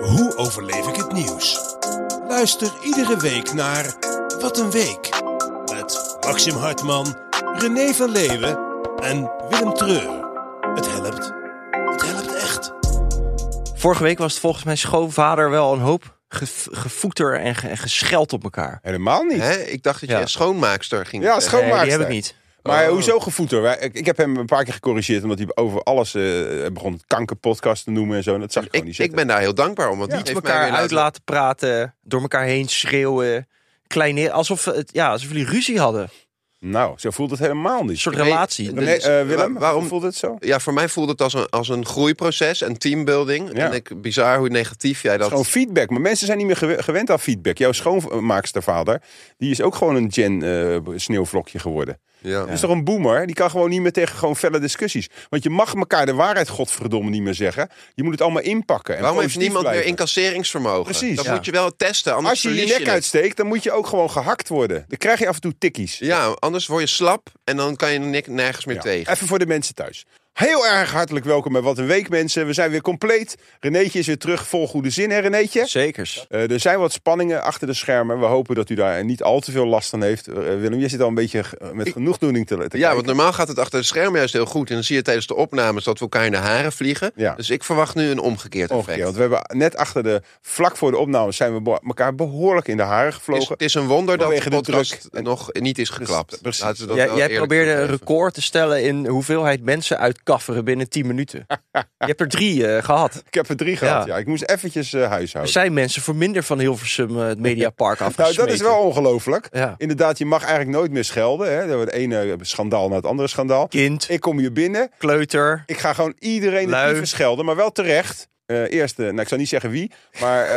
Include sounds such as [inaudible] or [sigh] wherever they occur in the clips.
Hoe overleef ik het nieuws? Luister iedere week naar Wat een Week. Met Maxim Hartman, René van Leeuwen en Willem Treur. Het helpt. Het helpt echt. Vorige week was het volgens mijn schoonvader wel een hoop ge- gevoeter en, ge- en gescheld op elkaar. Helemaal niet. Hè? Ik dacht dat je Ja. echt schoonmaakster ging. eh, Ja, zeggen. Nee, schoonmaakster. die heb ik niet. Maar Oh. hoezo gevoeter? Wij- Ik, ik heb hem een paar keer gecorrigeerd omdat hij over alles eh, begon het kankerpodcast te noemen en zo. En dat zag ik, gewoon ik, niet ik zitten. ben daar heel dankbaar om. Want Ja. die Met heeft mij elkaar weer uit laten- laten praten, door elkaar heen schreeuwen. Kleine, alsof, het, ja, alsof jullie ruzie hadden. Nou, zo voelt het helemaal Een niet. soort Nee, relatie. dat- Nee, eh, Willem, Dus Wa- waarom- waarom voelt het zo? Ja, voor mij voelde het als een, als een groeiproces en teambuilding. Ja. En ik, bizar hoe negatief jij dat... Gewoon feedback. Maar mensen zijn niet meer gewe- gewend aan feedback. Jouw schoonmaakstervader, die is ook gewoon een gen eh, sneeuwvlokje geworden. Ja. Dat is toch een boomer? Die kan gewoon niet meer tegen gewoon felle discussies. Want je mag elkaar de waarheid godverdomme niet meer zeggen. Je moet het allemaal inpakken. En Waarom heeft positief niemand meer blijven. incasseringsvermogen? Precies. Dat Ja. moet je wel testen, anders Als je je verlies nek het. uitsteekt, dan moet je ook gewoon gehakt worden. Dan krijg je af en toe tikkies. Ja, anders word je slap en dan kan je er nik- nergens meer Ja, tegen. Even voor de mensen thuis. Heel erg hartelijk welkom bij Wat een Week, mensen. We zijn weer compleet. Renéetje is weer terug vol goede zin, hè Renéetje? Zekers. Eh, er zijn wat spanningen achter de schermen. We hopen dat u daar niet al te veel last van heeft. Eh, Willem, jij zit al een beetje eh, met genoegdoening te, te Ja, want kijken. normaal gaat het achter het scherm juist heel goed. En dan zie je tijdens de opnames dat we elkaar in de haren vliegen. Ja. Dus ik verwacht nu een omgekeerd Omgekeerd, effect. Oh, want we hebben net achter de vlak voor de opname zijn we bo- elkaar behoorlijk in de haren Het is, gevlogen. het is een wonder dat Vanwege de de podcast druk en- Dus nog niet is geklapt. Precies. Laten we dat Jij, wel jij eerlijk probeerde een toegeven. record te stellen in hoeveelheid mensen uitkafferen binnen 10 minuten. Je hebt er drie eh, gehad. Ik heb er drie gehad. Ja. Ja, ik moest eventjes eh, Er huishouden. zijn mensen voor minder van Hilversum eh, het Mediapark [laughs] Nou, afgesmeten. dat is wel ongelooflijk. Ja. Inderdaad, je mag eigenlijk nooit meer schelden. Hè? Het ene schandaal na het andere schandaal. Kind, Ik kom hier binnen. kleuter. Ik ga gewoon iedereen de Lui. tyfus schelden, maar wel terecht. Eh eerst, eh, nou, ik zou niet zeggen wie, maar eh,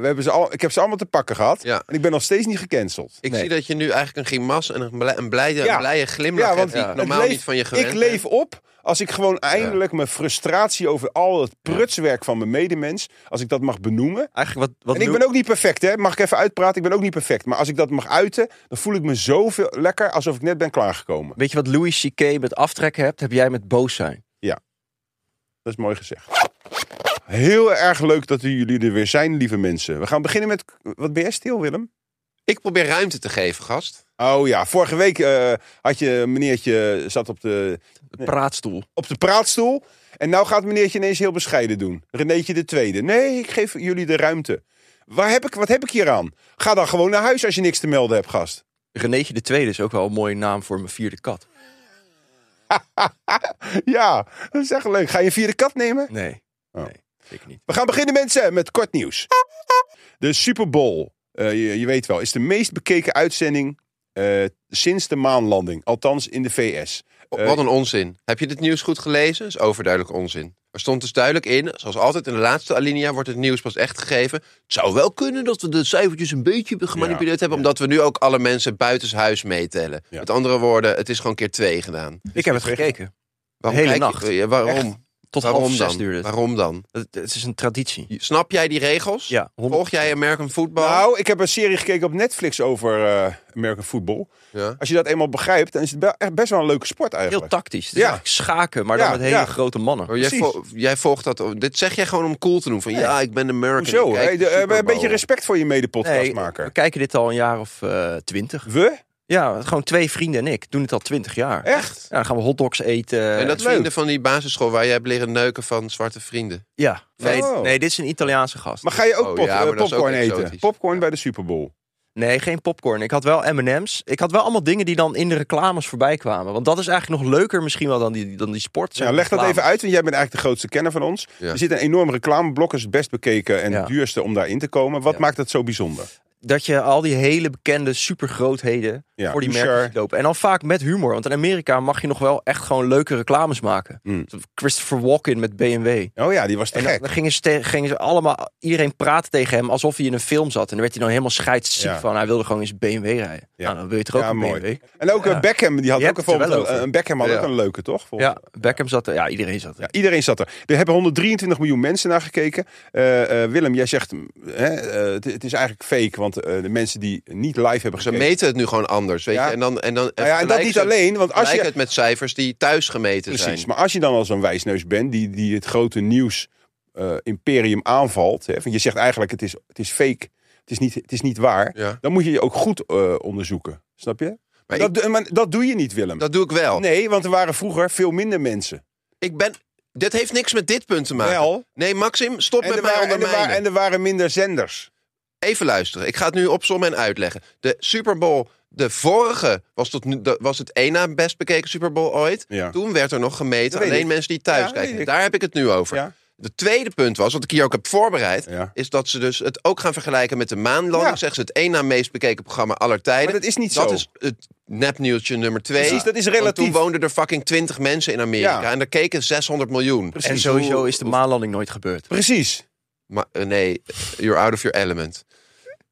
we hebben ze al, ik heb ze allemaal te pakken gehad. Ja. En ik ben nog steeds niet gecanceld. Ik Nee. zie dat je nu eigenlijk een grimas en een, blij, een, blijde, Ja. een blije glimlach hebt die ik het normaal leef- niet van je gewend Ik ben. leef op als ik gewoon eindelijk mijn frustratie over al het prutswerk van mijn medemens, als ik dat mag benoemen. Eigenlijk wat, wat en ik Lou- ben ook niet perfect, hè? Mag ik even uitpraten? Ik ben ook niet perfect. Maar als ik dat mag uiten, dan voel ik me zoveel lekker alsof ik net ben klaargekomen. Weet je wat Louis C.K. met aftrekken hebt? Heb jij met boos zijn. Dat is mooi gezegd. Heel erg leuk dat jullie er weer zijn, lieve mensen. We gaan beginnen met. Wat ben jij stil, Willem? Ik probeer ruimte te geven, gast. Oh ja, vorige week eh, had je een meneertje zat op de, De praatstoel. op de praatstoel. En nou gaat meneertje ineens heel bescheiden doen. Renéetje de tweede. Nee, ik geef jullie de ruimte. Waar heb ik, wat heb ik hier aan? Ga dan gewoon naar huis als je niks te melden hebt, gast. Renéetje de Tweede is ook wel een mooie naam voor mijn vierde kat. Ja, dat is echt leuk. Ga je vierde kat nemen? Nee. Oh. Nee, zeker niet. We gaan beginnen, mensen, met kort nieuws. De Super Bowl, eh, je, je weet wel, is de meest bekeken uitzending eh, sinds de maanlanding. Althans in de VS. O, Eh, Wat een onzin. Heb je dit nieuws goed gelezen? is overduidelijk onzin. Er stond dus duidelijk in, zoals altijd in de laatste alinea wordt het nieuws pas echt gegeven. Het zou wel kunnen dat we de cijfertjes een beetje gemanipuleerd hebben, omdat we nu ook alle mensen buitenshuis meetellen. Ja. Met andere woorden, het is gewoon keer twee gedaan. Ik heb het gekeken. Waarom hele kijk je- nacht. eh, waarom? Echt? Dus Tot half Waarom zes dan? duurde het. Waarom dan? Het, het is een traditie. Snap jij die regels? Ja, honderd- Volg jij American Football? Nou, ik heb een serie gekeken op Netflix over eh American Football. ja. Als je dat eenmaal begrijpt, dan is het be- echt best wel een leuke sport Heel eigenlijk. tactisch. Het is Ja. eigenlijk schaken, maar dan Ja, met hele ja. grote mannen. Oh, jij, Precies. vo- jij volgt dat. Dit zeg jij gewoon om cool te doen. Van ja, ik ben American. Hoezo? ik kijk Hey, de de- eh, Super een beetje Bowl. respect voor je Nee, medepodcastmaker. we kijken dit al een jaar of eh, twintig. We? ja, gewoon twee vrienden en ik doen het al twintig jaar. Echt? Ja, dan gaan we hotdogs eten. En dat Eh, leuk. vrienden van die basisschool waar jij hebt leren neuken van zwarte vrienden. Ja. Nee, Oh. nee, dit is een Italiaanse gast. Maar ga je ook Oh, pop- ja, maar eh, dat is ook popcorn eten? exotisch. Popcorn bij de Super Bowl. Nee, geen popcorn. Ik had wel M&M's. Ik had wel allemaal dingen die dan in de reclames voorbij kwamen. Want dat is eigenlijk nog leuker misschien wel dan die, dan die sport. Ja, leg dat even uit, want jij bent eigenlijk de grootste kenner van ons. Ja. Er zit een enorm reclameblok, is het best bekeken en Ja. het duurste om daarin te komen. Wat Ja. maakt dat zo bijzonder? dat je al die hele bekende supergrootheden Ja, voor die Usher. merken ziet lopen. En dan vaak met humor. Want in Amerika mag je nog wel echt gewoon leuke reclames maken. Mm. Christopher Walken met BMW. Oh ja, die was te En gek. dan, dan gingen, ze te- gingen ze allemaal, iedereen praten tegen hem alsof hij in een film zat. En dan werd hij dan helemaal scheidsziek Ja. van. Hij wilde gewoon eens BMW rijden. Ja. Nou, dan wil je toch ook Ja, een mooi. BMW. En ook Ja. eh, Beckham, die had Je ook hebt een, het er wel voorbeeld- over. een Beckham had Ja. ook een leuke, toch? Volgens- Ja, Beckham zat er. Ja, iedereen zat er. Ja, iedereen zat er. Er hebben 123 miljoen mensen naar gekeken. Eh, eh, Willem, jij zegt, mm, hè, eh, het, het is eigenlijk fake, want eh, de mensen die niet live hebben Ze gekeken... meten het nu gewoon anders. Weet Ja. je? En, dan, en, dan, Nou ja, en dat vergelijk niet ze- alleen, want als vergelijk je... het met cijfers die thuis gemeten Precies, zijn. maar als je dan al zo'n wijsneus bent die, die het grote nieuws eh, eh, imperium aanvalt, hè, van je zegt eigenlijk het is, het is fake, het is, niet, het is niet waar, Ja. dan moet je je ook goed eh, onderzoeken. Snap je? Maar dat, doe- maar dat doe je niet, Willem. Dat doe ik wel. Nee, want er waren vroeger veel minder mensen. Ik ben... Dit heeft niks met dit punt te maken. Wel. Nee, Maxim, stop En met er, mij waren, en, er ondermijnen. waren, en er waren minder zenders. Even luisteren. Ik ga het nu opzommen en uitleggen. De Super Bowl, de vorige, was, tot nu, de- was het één na best bekeken Super Bowl ooit. Ja. Toen werd er nog gemeten Dat weet alleen ik. mensen die thuis Ja, weet kijken. ik. Daar heb ik het nu over. Ja. De tweede punt was, wat ik hier ook heb voorbereid, Ja. is dat ze dus het ook gaan vergelijken met de maanlanding. Ja. Zeggen ze het één na meest bekeken programma aller tijden. Maar dat is niet Dat zo. is het nepnieuwtje nummer twee. Precies, dat is Want toen relatief. woonden er fucking 20 mensen in Amerika Ja. en daar keken 600 miljoen. Precies. En sowieso is de maanlanding nooit gebeurd. Precies. Maar, eh, nee, you're out of your element.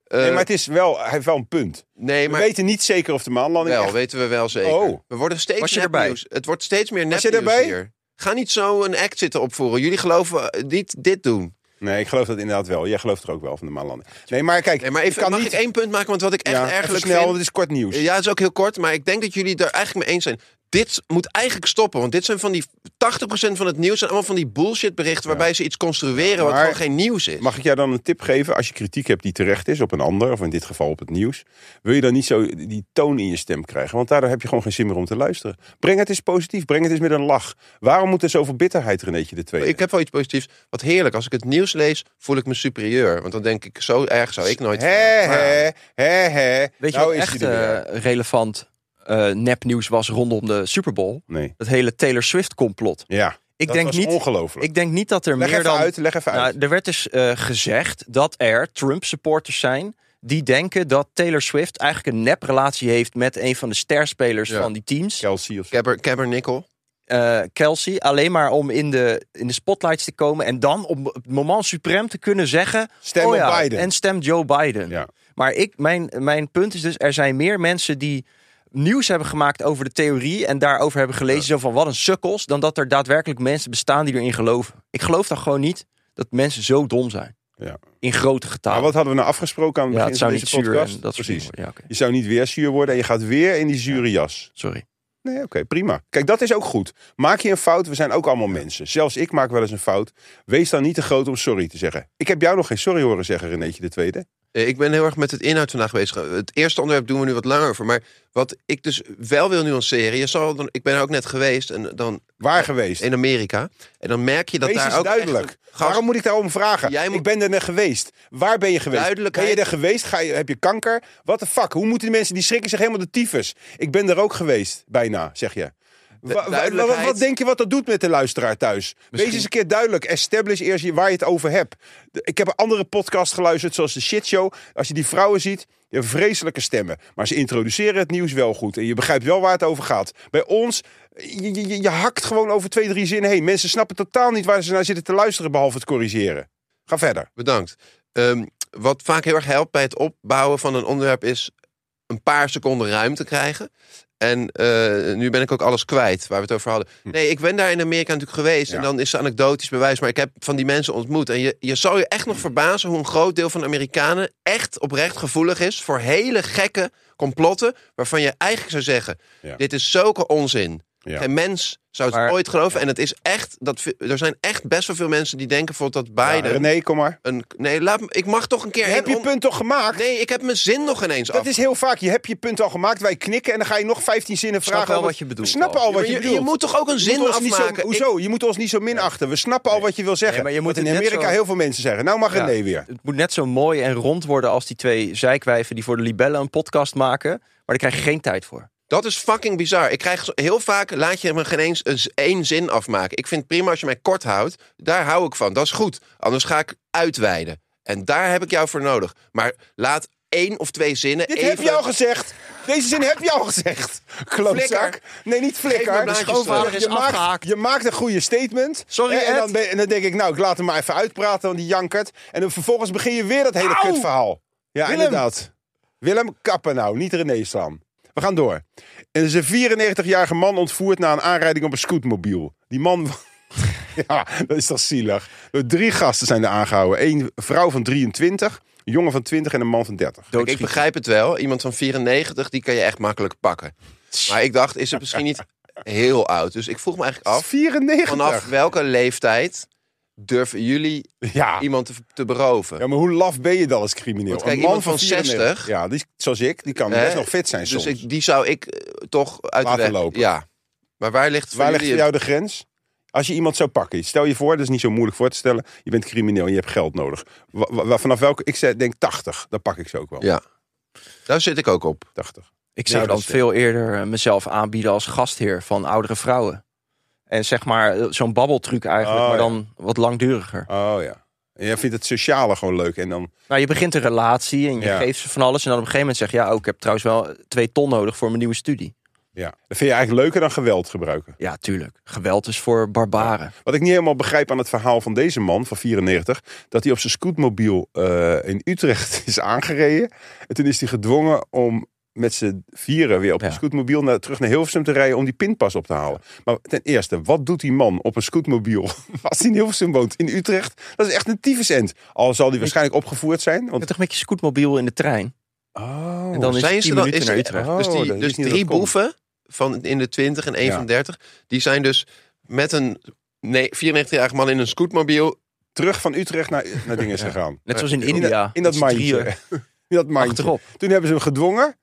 Eh, nee, maar het is wel, hij heeft wel een punt. nee, maar We weten niet zeker of de maanlanding Wel, echt... weten we wel zeker. Oh. We worden Was steeds je erbij? nepnieuws. Het wordt steeds meer Was je nepnieuws erbij? hier. Ga niet zo een act zitten opvoeren. Jullie geloven eh, niet dit doen. Nee, ik geloof dat inderdaad wel. Jij gelooft er ook wel van de maanlanding. Nee, maar kijk, Nee, maar even, ik kan mag niet... ik één punt maken? Want wat ik echt ja, even ergerlijk snel, vind... want het is kort nieuws. Ja, het is ook heel kort, maar ik denk dat jullie daar eigenlijk mee eens zijn. Dit moet eigenlijk stoppen, want dit zijn van die 80% van het nieuws zijn allemaal van die bullshit berichten waarbij ze iets construeren wat Maar- gewoon geen nieuws is. Mag ik jou dan een tip geven? Als je kritiek hebt die terecht is op een ander, of in dit geval op het nieuws, wil je dan niet zo die toon in je stem krijgen? Want daardoor heb je gewoon geen zin meer om te luisteren. Breng het eens positief, breng het eens met een lach. Waarom moet er zoveel bitterheid, Renéetje de Tweede? Ik heb wel iets positiefs. Wat heerlijk, als ik het nieuws lees, voel ik me superieur, want dan denk ik zo erg zou ik nooit. Hè, hè, hè, hè. Weet je nou wat is echt hij er weer. eh, relevant eh, nepnieuws was rondom de Super Bowl? Nee. Het hele Taylor Swift complot. Ja, Ik dat denk was niet. ongelooflijk. Ik denk niet dat er Leg meer even dan. uit, leg even uit. Nou, er werd dus eh, gezegd dat er Trump-supporters zijn die denken dat Taylor Swift eigenlijk een nep-relatie heeft met een van de sterspelers Ja. van die teams, Chelsea of zo. Caber, Cabernickel. eh, Kelsey, alleen maar om in de, in de spotlights te komen en dan op het moment suprem te kunnen zeggen: Stem oh op ja, Biden. en stem Joe Biden. Ja. Maar ik, mijn, mijn punt is dus, er zijn meer mensen die nieuws hebben gemaakt over de theorie en daarover hebben gelezen zo van wat een sukkels, dan dat er daadwerkelijk mensen bestaan die erin geloven. Ik geloof dan gewoon niet dat mensen zo dom zijn. Ja. In grote Maar getalen. wat hadden we nou afgesproken aan het ja, begin het zou van niet deze zuur podcast? en dat soort Precies. dingen. Ja, oké. Je zou niet weer zuur worden en je gaat weer in die zure jas. Sorry. Nee, oké, prima. Kijk, dat is ook goed. Maak je een fout, we zijn ook allemaal mensen. Zelfs ik maak wel eens een fout. Wees dan niet te groot om sorry te zeggen. Ik heb jou nog geen sorry horen zeggen, Renéetje de Tweede. Eh, Ik ben heel erg met het inhoud vandaag bezig. Eh, Het eerste onderwerp doen we nu wat langer over. Maar wat ik dus wel wil nuanceren. Je zal dan, ik ben er ook net geweest en dan Waar geweest? in Amerika. En dan merk je dat Wees daar eens ook. echt duidelijk. een gast- Waarom moet ik daarom vragen? Jij moet- Ik ben er net geweest. Waar ben je geweest? Duidelijkheid. Ben je er geweest? Ga je, heb je kanker? What the fuck? Hoe moeten die mensen, die schrikken zich helemaal de tyfus. Ik ben er ook geweest, bijna, zeg je. Wa- wa- duidelijkheid. wa- wat denk je wat dat doet met de luisteraar thuis? Wees eens een keer duidelijk. Establish eerst je- waar je het over hebt. De- Ik heb een andere podcast geluisterd, zoals de Shit Show. Als je die vrouwen ziet, die hebben vreselijke stemmen. Maar ze introduceren het nieuws wel goed. En je begrijpt wel waar het over gaat. Bij ons, je, je, je- je hakt gewoon over twee, drie zinnen heen. Mensen snappen totaal niet waar ze naar zitten te luisteren, behalve het corrigeren. Ga verder. Bedankt. Ehm, wat vaak heel erg helpt bij het opbouwen van een onderwerp is een paar seconden ruimte krijgen. En eh, nu ben ik ook alles kwijt waar we het over hadden. Nee, ik ben daar in Amerika natuurlijk geweest. En Hm. Ja. dan is het anekdotisch bewijs. Maar ik heb van die mensen ontmoet. En je, je zal je echt Hm. nog verbazen hoe een groot deel van de Amerikanen echt oprecht gevoelig is voor hele gekke complotten. Waarvan je eigenlijk zou zeggen: Ja. dit is zulke onzin. Ja. Geen mens zou het Maar- ooit geloven. En het is echt dat ve- er zijn echt best wel veel mensen die denken bijvoorbeeld dat Ja, Biden René, kom maar. een, nee, laat me, ik mag toch een keer... heb één je on- punt toch gemaakt? Nee, ik heb mijn zin nog ineens Dat af. is heel vaak. Je hebt je punt al gemaakt, wij knikken en dan ga je nog 15 zinnen snap vragen. wel over- wat je bedoelt, We snappen Paul. al wat je, je je bedoelt. moet toch ook een Je zin moet ons niet zo, afmaken? Ik- hoezo? Je moet ons niet zo minachten. We snappen al wat je wil zeggen. Nee, maar je moet Want in het net Amerika zo- heel veel mensen zeggen. Nou mag René Ja, weer. Het moet net zo mooi en rond worden als die twee zeikwijven die voor de libellen een podcast maken. Maar daar krijg je geen tijd voor. dat is fucking bizar. Ik krijg zo- heel vaak, laat je me geen eens een z- één zin afmaken. Ik vind het prima als je mij kort houdt. Daar hou ik van. Dat is goed. Anders ga ik uitweiden. En daar heb ik jou voor nodig. Maar laat één of twee zinnen Dit even... heb je al gezegd. Deze zin heb je al gezegd. Klootzak. Flikker. Nee, niet Geef me flikker. blaadjes eh, Je schoonvader terug. je is afgehaakt. Maakt, je maakt een goede statement. Eh, Sorry, En, en Ed. dan, ben- en dan denk ik, nou, ik laat hem maar even uitpraten, want die jankert. En dan vervolgens begin je weer dat hele kutverhaal. Ja, inderdaad. Willem, kappen nou. Niet René staan. We gaan door. Er is een 94-jarige man ontvoerd na een aanrijding op een scootmobiel. Die man... [laughs] Ja, dat is toch zielig. Door drie gasten zijn er aangehouden. Eén vrouw van 23, een jongen van 20 en een man van 30. Kijk, ik begrijp het wel. Iemand van 94, die kan je echt makkelijk pakken. Maar ik dacht, is [laughs] het misschien niet heel oud? Dus ik vroeg me eigenlijk af... 94. vanaf welke leeftijd durven jullie Ja. iemand te, te beroven. Ah. ja, maar hoe laf ben je dan als crimineel? Want kijk, een man iemand van 60 Ja, die, is- zoals ik, die kan Hè? best nog fit zijn soms. dus ik, die zou ik eh, toch uit Laten de weg... lopen. Ja. Maar waar ligt voor Dus Waar ligt jullie voor jou de grens? Als je iemand zou pakken, stel je voor, dat is niet zo moeilijk voor te stellen. Je bent crimineel en je hebt geld nodig. Wa- wa- wa- vanaf welke? Ik zei, denk 80. Dan pak ik ze ook wel. Ja. Daar zit ik ook op. 80. Ik zou Nee, dan dat is slim. veel eerder eh, mezelf aanbieden als gastheer van oudere vrouwen. En zeg maar eh, zo'n babbeltruc eigenlijk, Oh, maar ja. dan wat langduriger. Oh ja. En jij vindt het sociale gewoon leuk. En dan, Nou, je begint een relatie en je Ja. geeft ze van alles. En dan op een gegeven moment zeg je, ja, oh, ik heb trouwens wel twee ton nodig voor mijn nieuwe studie. ja. dat vind je eigenlijk leuker dan geweld gebruiken. Ja, tuurlijk. Geweld is voor barbaren. Wat ik niet helemaal begrijp aan het verhaal van deze man van 94, dat hij op zijn scootmobiel eh, in Utrecht [laughs] is aangereden. En toen is hij gedwongen om met z'n vieren weer op Ja. een scootmobiel naar, terug naar Hilversum te rijden om die pinpas op te halen. Maar ten eerste, wat doet die man op een scootmobiel [laughs] als hij in Hilversum woont in Utrecht? Dat is echt een tyfusend. Al zal die waarschijnlijk opgevoerd zijn. Je Want... hebt toch met je scootmobiel in de trein? Oh, En dan is zijn het ze 10 dan- minuten is- naar Utrecht. Oh, dus dat die, wist dus niet dat drie dat kon. boeven van in de 20 en één Ja. van 30, die zijn dus met een nee, 94-jarige man in een scootmobiel. terug van Utrecht naar, naar dingen is gegaan. Net zoals in In, India. dat- in dat met z'n mandje. drieën [laughs] In dat mandje. Achterop. Toen hebben ze hem gedwongen.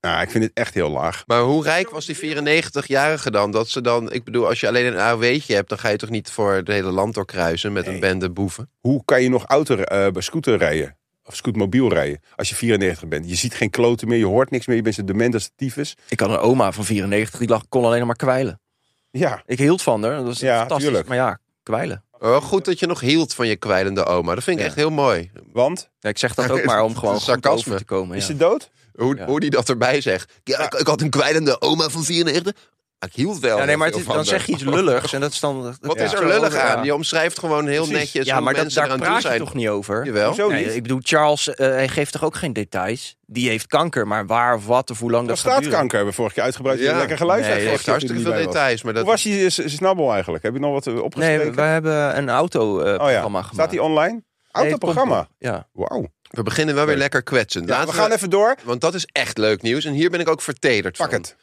Nou, ik vind het echt heel laag. Maar hoe rijk was die 94-jarige dan? Dat ze dan, ik bedoel, als je alleen een AOW'tje hebt, dan ga je toch niet voor het hele land doorkruisen met Nee. een bende boeven? hoe kan je nog auto, eh, bij scooter rijden? Of scootmobiel rijden als je 94 bent? Je ziet geen kloten meer, je hoort niks meer, je bent zo dement als de tyfus. Ik had een oma van 94, die lag, kon alleen nog maar kwijlen. Ja, Ik hield van haar, dat was Ja, fantastisch. tuurlijk. Maar ja, kwijlen. Oh, goed dat je nog hield van je kwijlende oma. Dat vind ik Ja. echt heel mooi. want Ja, ik zeg dat ook [laughs] maar om gewoon goed Sarcasme. over te komen. is Ja. ze dood? Hoe, Ja. hoe die dat erbij zegt. Ja, ik, ik had een kwijlende oma van 94. Ik hield wel. Ja, nee, maar heel het is- veel dan van zeg haar. je iets lulligs en dat is dan... dat- Wat ja. is er lullig Ja. aan? Je omschrijft gewoon heel Precies. netjes Ja, hoe maar dat, mensen daar eraan toe praat je zijn. toch niet over? Jawel. Hoezo Nee, niet? ik bedoel, Charles eh, hij geeft toch ook geen details? Die heeft kanker, maar waar of wat of hoe lang dat gaat duren. Prostaatkanker hebben we vorige keer uitgebreid. Ja. Lekker geluisterd. Nee, vorige heeft keer hartstikke toen veel hij erbij was. details. Maar dat, Hoe was die s- s- snabbel eigenlijk? Heb je nog wat eh, Nee, opgeschreven? we hebben een autoprogramma oh ja, programma gemaakt. staat die online? Nee, het komt Autoprogramma. nog. Ja. Wauw. we beginnen wel weer lekker kwetsend. Ja, Laten we gaan even door. Want dat is echt leuk nieuws. En hier ben ik ook vertederd Pak van. het.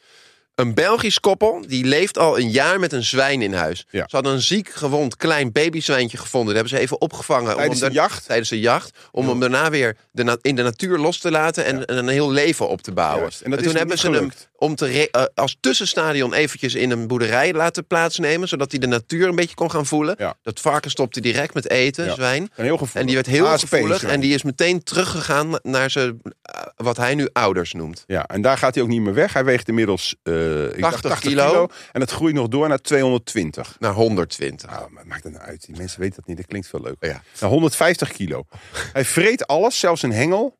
Een Belgisch koppel die leeft al een jaar met een zwijn in huis. Ja. Ze hadden een ziek, gewond, klein babyzwijntje gevonden. Dat hebben ze even opgevangen. Tijdens om de hem daar- jacht? Tijdens de jacht. Om hem daarna weer de na- in de natuur los te laten en, en een heel leven op te bouwen. Juist. En dat is toen hem hebben niet ze hem gelukt. om te re- eh, als tussenstadion eventjes in een boerderij laten plaatsnemen. Zodat hij de natuur een beetje kon gaan voelen. Ja. Dat varken stopte direct met eten, Ja. Ah, zwijn. Een heel gevoelig. En die werd heel ASP gevoelig. zwijn. En die is meteen teruggegaan naar zijn, eh, wat hij nu ouders noemt. Ja, en daar gaat hij ook niet meer weg. Hij weegt inmiddels eh, ik dacht 80 80 kilo. kilo. En dat groeit nog door naar 220. Naar 120. Nou, maar maakt dat nou uit? Die mensen weten dat niet. Dat klinkt veel leuker. Ja. Nou, 150 kilo. Hij vreet alles, zelfs een hengel.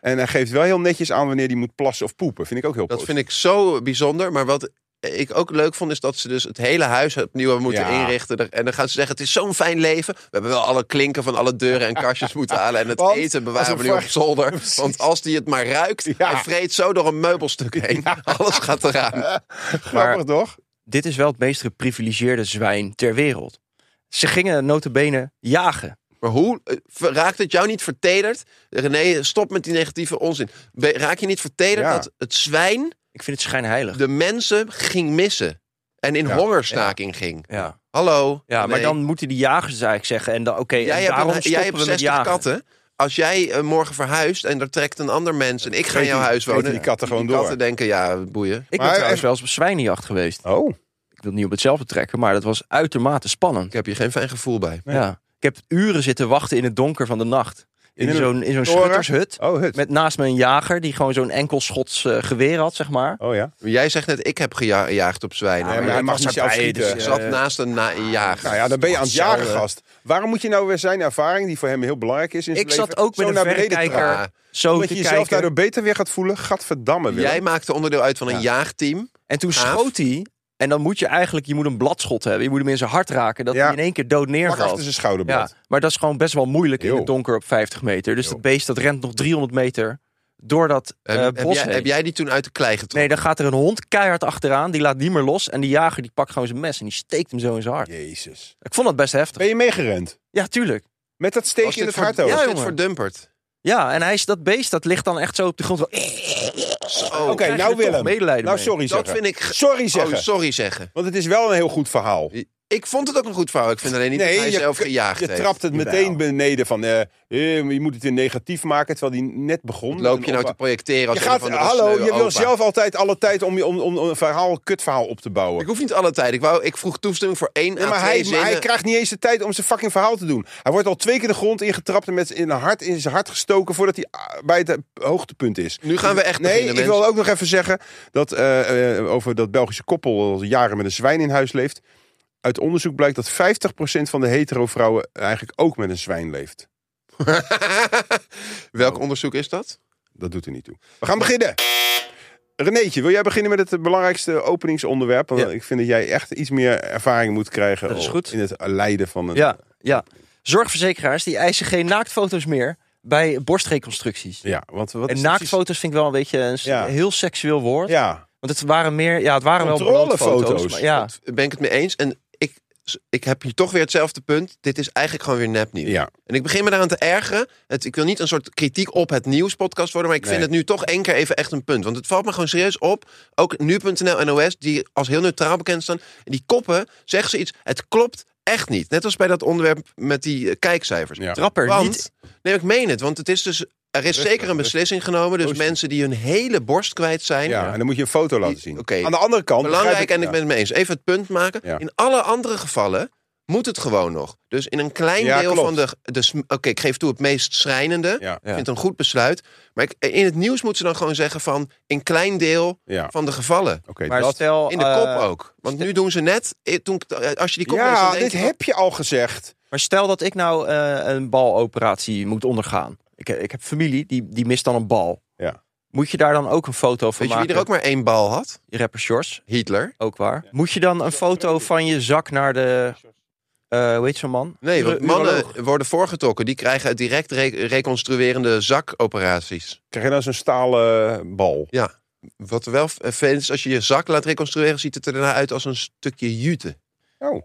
En hij geeft wel heel netjes aan wanneer hij moet plassen of poepen. Vind ik ook heel Dat positief. vind ik zo bijzonder. Maar wat ik ook leuk vond, is dat ze dus het hele huis opnieuw hebben moeten Ja. inrichten. Er- En dan gaan ze zeggen, het is zo'n fijn leven. We hebben wel alle klinken van alle [laughs] deuren en kastjes moeten halen. En het Want eten als bewaren we een nu op vraag- [laughs] zolder. Precies. Want als die het maar ruikt, Ja. hij vreet zo door een [laughs] meubelstuk heen. Alles gaat eraan. Grappig, toch? Dit is wel het meest geprivilegeerde zwijn ter wereld. Ze gingen notabene jagen. Maar hoe eh, ver- raakt het jou niet vertederd? René, stop met die negatieve onzin. Be- Raak je niet vertederd Ja. dat het zwijn Ik vind het schijnheilig. de mensen ging missen? En in Ja. hongerstaking ging. Ja, Hallo. ja maar René. dan moeten die jagers eigenlijk zeggen. En dan, oké, en jij hebt, daarom een, jij stoppen hebt we met 60 jagen. katten. Als jij eh, morgen verhuist en er trekt een ander mens en ik ga in Vreten- jouw huis vreten wonen. die katten gewoon door. katten denken, ja, boeien. Ik ben Maar trouwens even- wel eens op zwijnenjacht geweest. Oh, Ik wil het niet op hetzelfde trekken, maar dat was uitermate spannend. Ik heb hier geen fijn gevoel bij. Ja. Ik heb uren zitten wachten in het donker van de nacht. In, In een zo'n, in zo'n toren? schuttershut. oh, het. Met naast me een jager die gewoon zo'n enkel schots eh, geweer had, zeg maar. Oh ja. Jij zegt net, ik heb geja- gejaagd op zwijnen. maar Maar hij ik mag was niet erbij, zelf dus schieten. ik zat Eh, naast een na een jager. Nou ja, dan ben je aan het Hetzelfde. jagen, gast. Waarom moet je nou weer zijn ervaring, die voor hem heel belangrijk is in zijn Ik zat leven, ook met zo een naar beneden verrekijker trappen? trappen. zo Omdat te je jezelf kijken. daardoor beter weer gaat voelen. Gadverdamme, Willem. Jij maakte onderdeel uit van een Ja. jaagteam. En toen Gaaf. schoot hij. En dan moet je eigenlijk, je moet een bladschot hebben. Je moet hem in zijn hart raken, dat Ja. hij in één keer dood Pak achter neervalt. zijn Ja, schouderblad. maar dat is gewoon best wel moeilijk in Yo. het donker op 50 meter. Dus Yo. dat beest dat rent nog 300 meter door dat eh, Heb, heb, bos jij, heen. heb jij die toen uit de klei getrokken? Nee, dan gaat er een hond keihard achteraan. Die laat niet meer los. En die jager die pakt gewoon zijn mes en die steekt hem zo in zijn hart. Jezus. Ik vond dat best heftig. Ben je meegerend? Ja, tuurlijk. Met dat steek Was in dit het voor, hart ook? was Ja, dit jongen. voor Dumpert? Ja, en hij is dat beest dat ligt dan echt zo op de grond. Zo, eh, Zo, Oké, krijg je nou er toch Willem. medelijden Nou, mee. sorry Oh, dat zeggen. vind ik... Sorry Oh, zeggen. sorry zeggen. Want het is wel een heel goed verhaal. Ik vond het ook een goed verhaal. Ik vind alleen niet dat hij zelf gejaagd je heeft. trapt het Jawel. meteen beneden van eh, eh, je moet het in negatief maken terwijl die net begon. Wat loop je En nou opa- te projecteren als je gaat, een van de hallo, je wil zelf altijd alle tijd om, je, om, om om een verhaal, een kutverhaal op te bouwen. Ik hoef niet alle tijd. Ik, wou, ik vroeg toestemming voor één Ja, à maar twee hij, maar zinnen. hij krijgt niet eens de tijd om zijn fucking verhaal te doen. Hij wordt al twee keer de grond ingetrapt en met zijn in een hart, in zijn hart gestoken voordat hij ah, bij het eh, hoogtepunt is. Nu gaan we echt Nee, beginnen, ik mensen. wil ook nog even zeggen dat eh, eh, over dat Belgische koppel al jaren met een zwijn in huis leeft. Uit onderzoek blijkt dat 50% van de hetero vrouwen eigenlijk ook met een zwijn leeft. Welk onderzoek is dat? Dat doet er niet toe. We gaan beginnen. Renéetje, wil jij beginnen met het eh, belangrijkste openingsonderwerp? Want Ja. ik vind dat jij echt iets meer ervaring moet krijgen Dat is op- goed. in het leiden van een... Ja, ja. Zorgverzekeraars die eisen geen naaktfoto's meer bij borstreconstructies. Ja, want wat en is precies- naaktfoto's vind ik wel een beetje een s- Ja. heel seksueel woord. Ja, Want het waren meer, ja, het waren wel Controlefoto's. brandfoto's, maar ja. Daar Ben ik het mee eens? En ik, ik heb hier toch weer hetzelfde punt. Dit is eigenlijk gewoon weer nepnieuws. Ja. En ik begin me daaraan te ergeren. Het, ik wil niet een soort kritiek op het nieuwspodcast worden, maar ik vind Nee. het nu toch één keer even echt een punt. Want het valt me gewoon serieus op. Ook nu.nl NOS, die als heel neutraal bekend staan, en die koppen zeggen ze iets. Het klopt echt niet. Net als bij dat onderwerp met die eh, kijkcijfers. Ja. Trapper Want, niet. Nee, ik meen het. Want het is dus. Er is zeker een beslissing genomen. Dus Rustig. mensen die hun hele borst kwijt zijn. Ja, en dan moet je een foto laten Die- zien. oké. Aan de andere kant... Belangrijk, begrijp en ik ben het mee eens. Even het punt maken. Ja. In alle andere gevallen moet het gewoon nog. Dus in een klein Ja, deel klopt. van de... de sm- Oké, ik geef toe het meest schrijnende. Ja, Ik vind het een goed besluit. Maar ik, in het nieuws moeten ze dan gewoon zeggen van... een klein deel ja. van de gevallen. Oké, Maar dat... stel, In de eh, kop ook. Want nu doen ze net... eh, Toen, ik- eh, als je die kop leest, dan Ja, denk dit je, heb je al gezegd. Maar stel dat ik nou eh, een baloperatie moet ondergaan. Ik, eh, ik heb familie, die, die mist dan een bal. Ja. Moet je daar dan ook een foto van Weet je maken? wie er ook maar één bal had? Rapper Shores, Hitler. ook waar. Moet je dan een foto van je zak naar de... eh hoe heet zo'n man? Nee, want Uro- uroloog. mannen worden voorgetrokken. Die krijgen direct re- reconstruerende zakoperaties. Krijg je nou zo'n stalen bal? Wat wel f- eh, fijn is, als je je zak laat reconstrueren, ziet het er daarna uit als een stukje jute. Oh.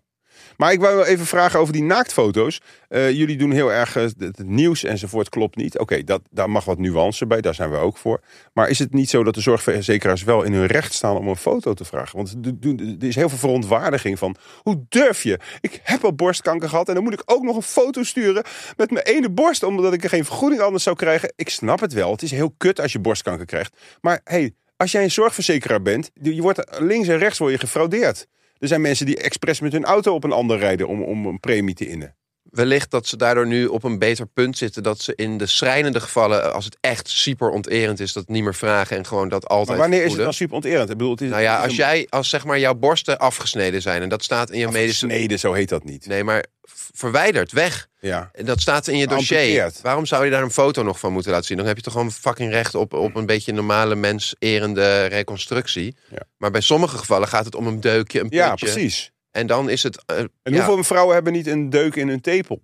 Maar ik wou wel even vragen over die naaktfoto's. Eh, jullie doen heel erg eh, het, het nieuws enzovoort klopt niet. Oké, dat daar mag wat nuance bij, daar zijn we ook voor. Maar is het niet zo dat de zorgverzekeraars wel in hun recht staan om een foto te vragen? Want er doen- er is heel veel verontwaardiging van, hoe durf je? Ik heb al borstkanker gehad en dan moet ik ook nog een foto sturen met mijn ene borst, omdat ik er geen vergoeding anders zou krijgen. Ik snap het wel, het is heel kut als je borstkanker krijgt. Maar hey, als jij een zorgverzekeraar bent, je wordt links en rechts word je gefraudeerd. Er zijn mensen die expres met hun auto op een ander rijden om, om een premie te innen. Wellicht dat ze daardoor nu op een beter punt zitten. Dat ze in de schrijnende gevallen, eh, als het echt super onterend is, dat niet meer vragen en gewoon dat altijd. Maar wanneer is het dan vergoeden. super onterend? Ik bedoel, het is, Nou ja, het als is jij, als zeg maar jouw borsten afgesneden zijn en dat staat in je een medische. afgesneden, zo heet dat niet. Nee, maar v- verwijderd, weg. Ja. En dat staat in je dossier. Nou, Amputeerd. Waarom zou je daar een foto nog van moeten laten zien? Dan heb je toch gewoon fucking recht op, op een beetje normale mens-erende reconstructie. Ja. Maar bij sommige gevallen gaat het om een deukje, een puntje. ja, precies. En dan is het. eh, En ja, hoeveel vrouwen hebben niet een deuk in hun tepel?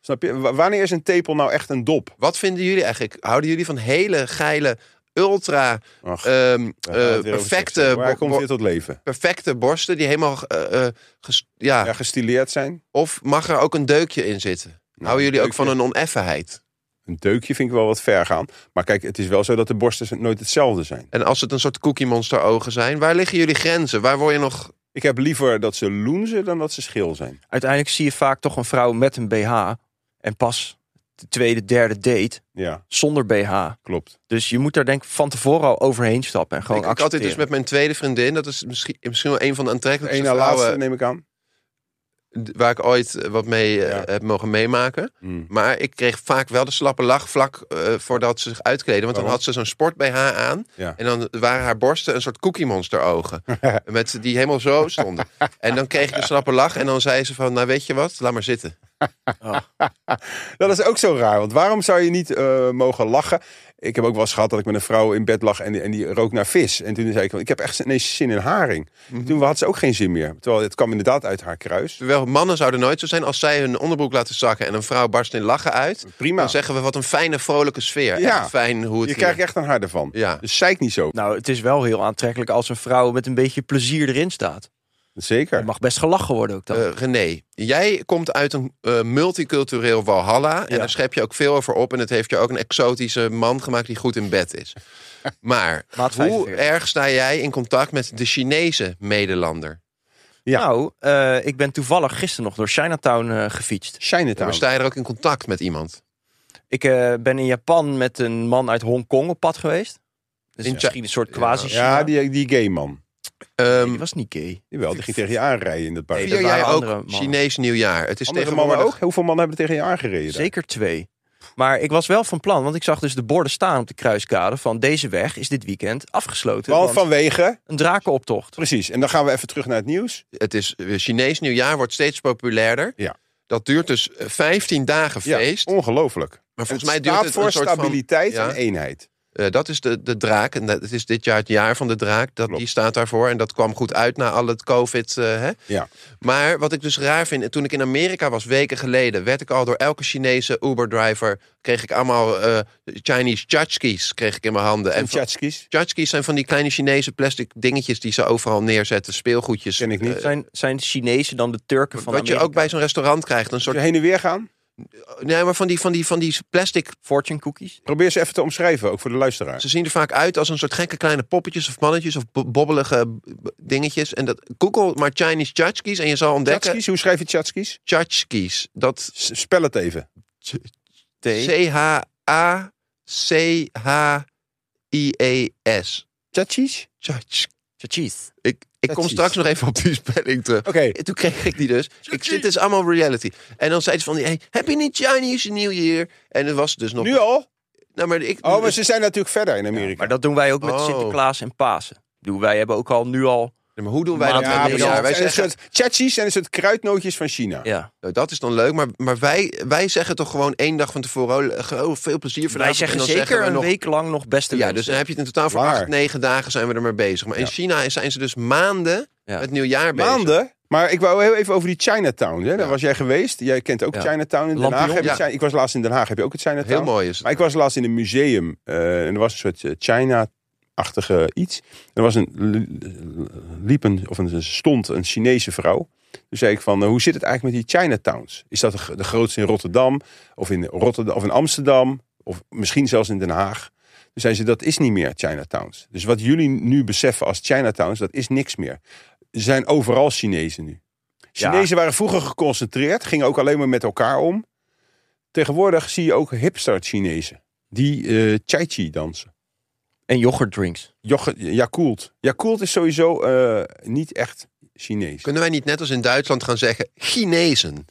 Snap je? Wa- Wanneer is een tepel nou echt een dop? Wat vinden jullie eigenlijk? Houden jullie van hele geile, ultra Ach, ehm, daar gaat het eh, weer over perfecte, seksen. Waar bo- komt bo- dit tot leven? perfecte borsten die helemaal. eh, eh, ges- ja. Ja, gestileerd zijn? Nou, Of mag er ook een deukje in zitten? Houden jullie ook deukje. van een oneffenheid? Een deukje vind ik wel wat ver gaan. Maar kijk, het is wel zo dat de borsten nooit hetzelfde zijn. En als het een soort cookie monster ogen zijn, waar liggen jullie grenzen? Waar word je nog. Ik heb liever dat ze loenzen dan dat ze schil zijn. Uiteindelijk zie je vaak toch een vrouw met een BH. En pas de tweede, derde date Ja, zonder BH. klopt. Dus je moet daar denk ik van tevoren al overheen stappen. En gewoon Ik, ik had dit dus accepteren. met mijn tweede vriendin. Dat is misschien, misschien wel een van de aantrekkelijkste Eén na laatste vrouwen neem ik aan. d- waar ik ooit eh, wat mee eh, Ja. heb mogen meemaken. Hmm. Maar ik kreeg vaak wel de slappe lach vlak eh, voordat ze zich uitkleden. Want dan Waarom? had ze zo'n sport BH aan. Ja. En dan waren haar borsten een soort cookie monster [laughs] ogen. met, die helemaal zo stonden. en dan kreeg ik een slappe lach. En dan zei ze van, nou weet je wat, laat maar zitten. Dat is ook zo raar, want waarom zou je niet eh, mogen lachen? Ik heb ook wel eens gehad dat ik met een vrouw in bed lag en, die- en die rook naar vis. En toen zei ik, ik heb echt ineens zin in haring. Mhm. Toen had ze ook geen zin meer. Terwijl het kwam inderdaad uit haar kruis. Terwijl mannen zouden nooit zo zijn als zij hun onderbroek laten zakken. En een vrouw barst in lachen uit. Prima. Dan zeggen we, wat een fijne, vrolijke sfeer. Nou. Ja. Echt fijn hoe het Je hier- krijgt echt een harde van. eh, Ja. Dus zeik niet zo. Nou, het is wel heel aantrekkelijk als een vrouw met een beetje plezier erin staat. Zeker. Er mag best gelachen worden ook dan. Eh, René, jij komt uit een eh, multicultureel walhalla. En Ja. daar schep je ook veel over op. En het heeft je ook een exotische man gemaakt die goed in bed [laughs] is. Maar Maat hoe 45. erg sta jij in contact met de Chinese medelander? Ja. Nou, eh, ik ben toevallig gisteren nog door Chinatown eh, gefietst. Ja, maar Chinatown. sta je er ook in contact met iemand? Ik eh, ben in Japan met een man uit Hongkong op pad geweest. Dus In Chi- misschien een soort quasi Ja, die, die gay man. Ehm was niet gay. Jawel, die ging tegen je aanrijden in dat park. Nee, vier dat jij waren ook andere mannen. Chinees nieuwjaar. Het is Andere tegenwoordig... mannen ook? Hoeveel mannen hebben er tegen je aangereden? Zeker twee. Maar ik was wel van plan, want ik zag dus de borden staan op de kruiskade van deze weg is dit weekend afgesloten. Want want vanwege... Een drakenoptocht. Precies. En dan gaan we even terug naar het nieuws. Het is, eh, Chinees nieuwjaar wordt steeds populairder. Ja. Dat duurt dus eh, 15 dagen Ja, feest. ongelooflijk. maar volgens Het mij duurt staat het voor een soort van- stabiliteit Ja. en eenheid. Eh, dat is de, de draak. En dat het is dit jaar het jaar van de draak. Dat, Klopt. die staat daarvoor. En dat kwam goed uit na al het covid. eh, hè? Ja. Maar wat ik dus raar vind. en Toen ik in Amerika was, weken geleden... werd ik al door elke Chinese Uber-driver... kreeg ik allemaal eh, Chinese tchotchkes kreeg ik in mijn handen. En En van- tjatskis. tchotchkes zijn van die kleine Chinese plastic dingetjes... die ze overal neerzetten. Speelgoedjes. Ken ik niet. Zijn, zijn de Chinezen dan de Turken van Wat je Amerika? ook bij zo'n restaurant krijgt. Een soort... Zullen we heen en weer gaan? Nee, maar van die, van die, van die plastic fortune cookies? Probeer ze even te omschrijven, ook voor de luisteraar. Ze zien er vaak uit als een soort gekke kleine poppetjes of mannetjes of bo- bobbelige eh, b- dingetjes. En dat, Google maar Chinese tchotchkes en je zal ontdekken... Tjatskis, hoe schrijf je tjatskis? Tchotchkes. Dat S- Spel het even. T. C-H-A-C-H-I-E-S. Tjatskis? Tchotch. Tjatjies. E Ik, ik kom Tchotchkes. straks nog even op die spelling terug. Oké, En Toen kreeg ik die dus. Ik zit dus allemaal reality. En dan zei ze van, hey, heb je niet Chinese New Year? En het was dus nog... nu al? Nou, maar ik, Oh, maar ze zijn natuurlijk verder in Amerika. Maar dat doen wij ook met Oh. Sinterklaas en Pasen. Ik bedoel, Wij hebben ook al nu al... Maar hoe doen wij Maar dat ja, met precies. nieuwjaar? Wij zijn een zeggen, soort tjatskis en een soort kruidnootjes van China. Ja. Nou, dat is dan leuk, maar, maar wij, wij zeggen toch gewoon één dag van tevoren... Oh, ge- oh, veel plezier vandaag. Wij zeggen zeker een week lang nog beste Ja, wensen. dus dan heb je het in totaal voor Waar? acht, negen dagen zijn we er maar bezig. Maar in Ja. China zijn ze dus maanden Ja. het nieuwjaar bezig. Maanden? Maar ik wou heel even over die Chinatown. Hè? Daar Ja. was jij geweest. Jij kent ook Ja. Chinatown in Den Lampion. Haag. Heb je Ja. Chi- Ik was laatst in Den Haag. Heb je ook het Chinatown? Heel mooi is het. Maar ik was laatst in een museum eh, en er was een soort eh, China-achtige iets. En er was een, liep een, of een, stond een Chinese vrouw. Toen zei ik van, eh, hoe zit het eigenlijk met die Chinatowns? Is dat de, gro- de grootste in Rotterdam of in, Rotterdam, of in Amsterdam of misschien zelfs in Den Haag? Toen zei ze, dat is niet meer Chinatowns. Dus wat jullie nu beseffen als Chinatowns, dat is niks meer. Er zijn overal Chinezen nu. Chinezen waren vroeger geconcentreerd, gingen ook alleen maar met elkaar om. Tegenwoordig zie je ook hipster-Chinezen. Die eh chai chi dansen. eh, En yoghurtdrinks. Yoghurt- Yakult. Yakult is sowieso eh, niet echt Chinees. Kunnen wij niet net als in Duitsland gaan zeggen Chinezen?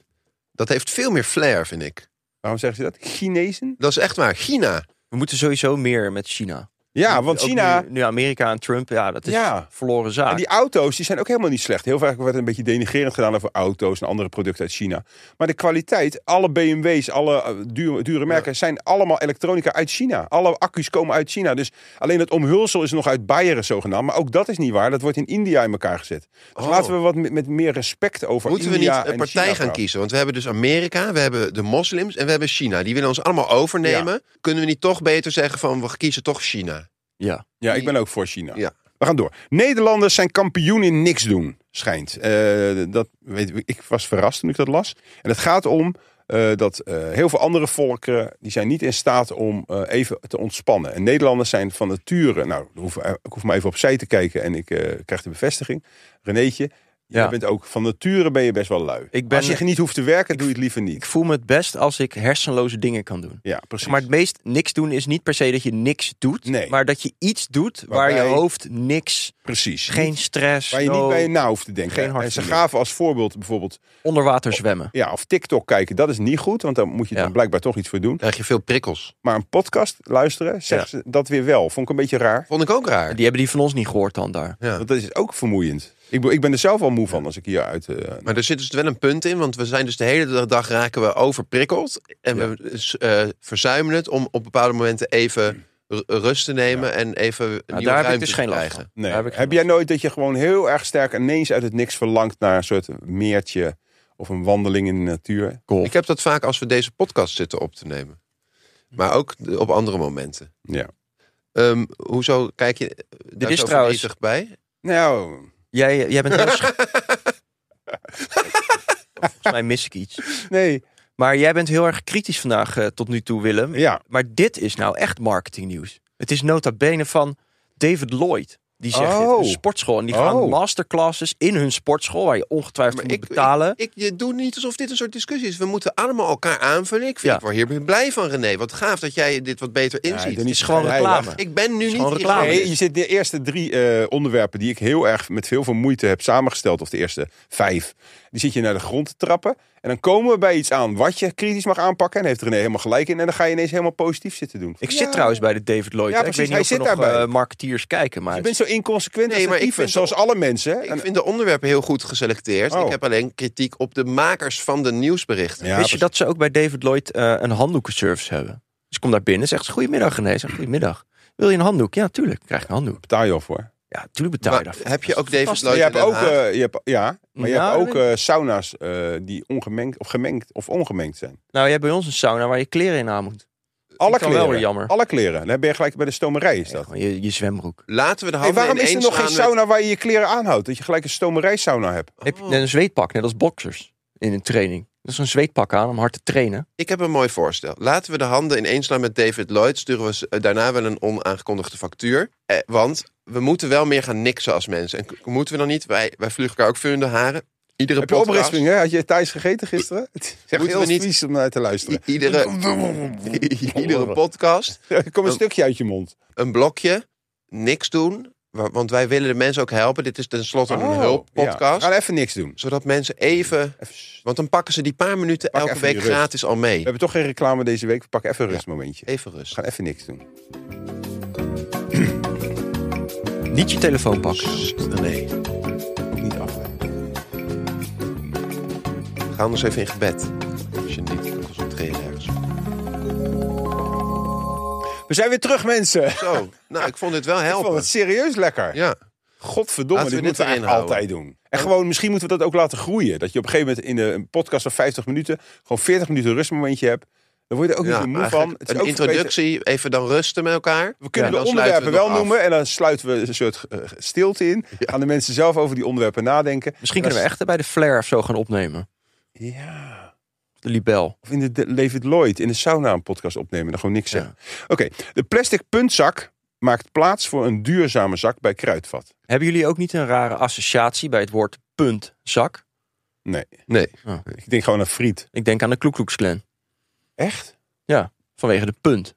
Dat heeft veel meer flair, vind ik. Waarom zeggen ze dat? Chinezen? Dat is echt waar. China. We moeten sowieso meer met China. Ja, want Ook China... Nu, nu Amerika en Trump, ja, dat is Ja. verloren zaak. En die auto's die zijn ook helemaal niet slecht. Heel vaak wordt een beetje denigerend gedaan over auto's en andere producten uit China. Maar de kwaliteit, alle BMW's, alle eh, dure, dure merken zijn allemaal elektronica uit China. Alle accu's komen uit China. Dus alleen het omhulsel is nog uit Beieren zogenaamd. Maar ook dat is niet waar. Dat wordt in India in elkaar gezet. Dus Oh. laten we wat met, met meer respect over Moeten we niet India een en partij China gaan praten. kiezen? Want we hebben dus Amerika, we hebben de moslims en we hebben China. Die willen ons allemaal overnemen. Kunnen we niet toch beter zeggen van we kiezen toch China? Ja. Ja, ik ben ook voor China. Ja. We gaan door. Nederlanders zijn kampioen in niks doen, schijnt. Eh, dat, weet, ik- ik was verrast toen ik dat las. En het gaat om eh, dat eh, heel veel andere volken... die zijn niet in staat om eh, even te ontspannen. En Nederlanders zijn van nature... Nou, ik hoef, ik hoef maar even opzij te kijken en ik eh, krijg de bevestiging. Renéetje, jij Ja. bent ook van nature ben je best wel lui. Ik ben- Als je niet hoeft te werken, doe je het liever Ik niet. voel me het best als ik hersenloze dingen kan doen. Ja, precies. Zeg maar het meest niks doen is niet per se dat je niks doet. Nee. Maar dat je iets doet waar Waarbij- je hoofd niks, precies. geen stress, Waar je no niet bij je na hoeft te denken. Geen hard en ze feeling. gaven als voorbeeld bijvoorbeeld onder water zwemmen. Ja, of TikTok kijken, dat is niet goed, want daar moet je Ja. dan blijkbaar toch iets voor doen. Krijg je veel prikkels. Maar een podcast luisteren, zeggen ze dat weer wel. Vond ik een beetje raar. Vond ik ook raar. Die hebben die van ons niet gehoord dan daar. Ja. Want dat is ook vermoeiend. Ik, be- ik ben er zelf al moe van als ik hier uit... eh, Maar er zit dus wel een punt in, want we zijn dus de hele dag raken we overprikkeld. En we eh, verzuimen het om op bepaalde momenten even ru- rust te nemen en even een Nou, nieuwe daar heb ik ruimte dus te geen last krijgen. van. nee. Daar Heb, ik geen jij nooit dat je gewoon heel erg sterk ineens uit het niks verlangt naar een soort meertje of een wandeling in de natuur? Golf. Ik heb dat vaak als we deze podcast zitten op te nemen. Maar ook de- op andere momenten. Ja. Ehm, hoezo kijk je eh, daar is zo trouwens- verdrietig bij? Nou, Jij, eh, jij bent heel [laughs] sch- Volgens mij mis ik iets. nee. Maar jij bent heel erg kritisch vandaag eh, tot nu toe, Willem. Ja, Maar dit is nou echt marketingnieuws. Het is nota bene van David Lloyd. Die zegt Oh. dit, een sportschool. En die gaan Oh. masterclasses in hun sportschool, waar je ongetwijfeld Maar voor moet ik, betalen. ik, ik doe niet alsof dit een soort discussie is. We moeten allemaal elkaar aanvullen. Ik, vind, Ja. ik word hier blij van, René. Wat gaaf dat jij dit wat beter Ja, inziet. dan is gewoon schrijven. reclame. ik ben nu is niet gewoon reclame. in- Nee, je zit de eerste drie eh, onderwerpen die ik heel erg met heel veel moeite heb samengesteld, of de eerste vijf, die zit je naar de grond te trappen. En dan komen we bij iets aan wat je kritisch mag aanpakken. En heeft René helemaal gelijk in. En dan ga je ineens helemaal positief zitten doen. Ik Ja. zit trouwens bij de David Lloyd. Ja, hè. precies, Ik weet niet hij of er zit nog daarbij. eh, marketeers kijken, maar Je bent zo inconsequent Nee, als maar dat ik ik vind vind, zoals alle mensen. Ik En- vind de onderwerpen heel goed geselecteerd. Oh. Ik heb alleen kritiek op de makers van de nieuwsberichten. Ja, Wist je dat ze ook bij David Lloyd eh, een handdoekenservice hebben? Dus ik kom daar binnen, zegt ze, goedemiddag René. Ik Zeg, goedemiddag. Wil je een handdoek? Ja, tuurlijk. Krijg je een handdoek. betaal je al voor. Ja, tuurlijk betaal je Maar daarvoor. heb je Dat ook is David fantastisch. Maar Lloyd je hebt in Den ook, Haag? eh, je hebt, ja, maar je Nou, hebt ook dat eh, sauna's eh, die ongemengd of gemengd of ongemengd zijn. Nou, je hebt bij ons een sauna waar je kleren in aan moet. Alle kan wel kleren. weer jammer. Alle kleren. Dan ben je gelijk bij de stomerij is dat. Gewoon Je, je zwembroek. Laten we de Hey, handen waarom is er ineens nog geen slaan met- sauna waar je je kleren aanhoudt? Dat je gelijk een stomerij sauna hebt. Heb je net een zweetpak, net als boxers in een training. Dat is een zweetpak aan om hard te trainen. Ik heb een mooi voorstel. Laten we de handen ineens slaan met David Lloyd. Sturen we ze- eh, daarna wel een onaangekondigde factuur. Eh, want we moeten wel meer gaan niksen als mensen. En k- moeten we dan niet? Wij, wij vliegen elkaar ook veel in de haren. Iedere Heb je podcast- oprisping, hè? Had je thuis gegeten [laughs] gisteren? Het is echt Moeten heel we niet- vies om naar te luisteren. I- [laughs] iedere, [laughs] iedere podcast Er komt een Oh. stukje uit je mond. een blokje, niks doen. wa- Want wij willen de mensen ook helpen. Dit is tenslotte een Oh, Ja. hulppodcast. Gaan even niks doen. Zodat mensen even... Even s- Want dan pakken ze die paar minuten Pak elke even die week rust. gratis al mee. We hebben toch geen reclame deze week. We pakken even een rustmomentje. We Even rust. gaan even niks doen. Niet je telefoon pakken. Nee. Niet afleiden. Ga anders even in gebed. Als je niet kan concentreren ergens. We zijn weer terug, mensen. Ik Zo, nou, ik vond dit wel vond helpen. het serieus lekker. Ja, Godverdomme, Laten dit we moeten dit we erin eigenlijk altijd doen. En gewoon, misschien moeten we dat ook laten groeien. Dat je op een gegeven moment in een- een podcast van 50 minuten... gewoon 40 minuten rustmomentje hebt. Dan word je er ook niet ja zo moe eigenlijk van. Het is een ook verbeterd- introductie, even dan rusten met elkaar. We kunnen Ja, de dan sluiten onderwerpen we wel nog af. noemen en dan sluiten we een soort eh, stilte in. Gaan de mensen zelf over die onderwerpen nadenken. Misschien kunnen we echt bij de Flair of zo gaan opnemen. Ja. Of de Libel. Of in de de David Lloyd in de sauna een podcast opnemen en dan gewoon niks Ja. zeggen. Oké, de plastic puntzak maakt plaats voor een duurzame zak bij Kruidvat. Hebben jullie ook niet een rare associatie bij het woord puntzak? Nee, Ah. Nee, ik denk gewoon aan friet. Ik denk aan de Kloekloeksclan. Echt? Vanwege de punt.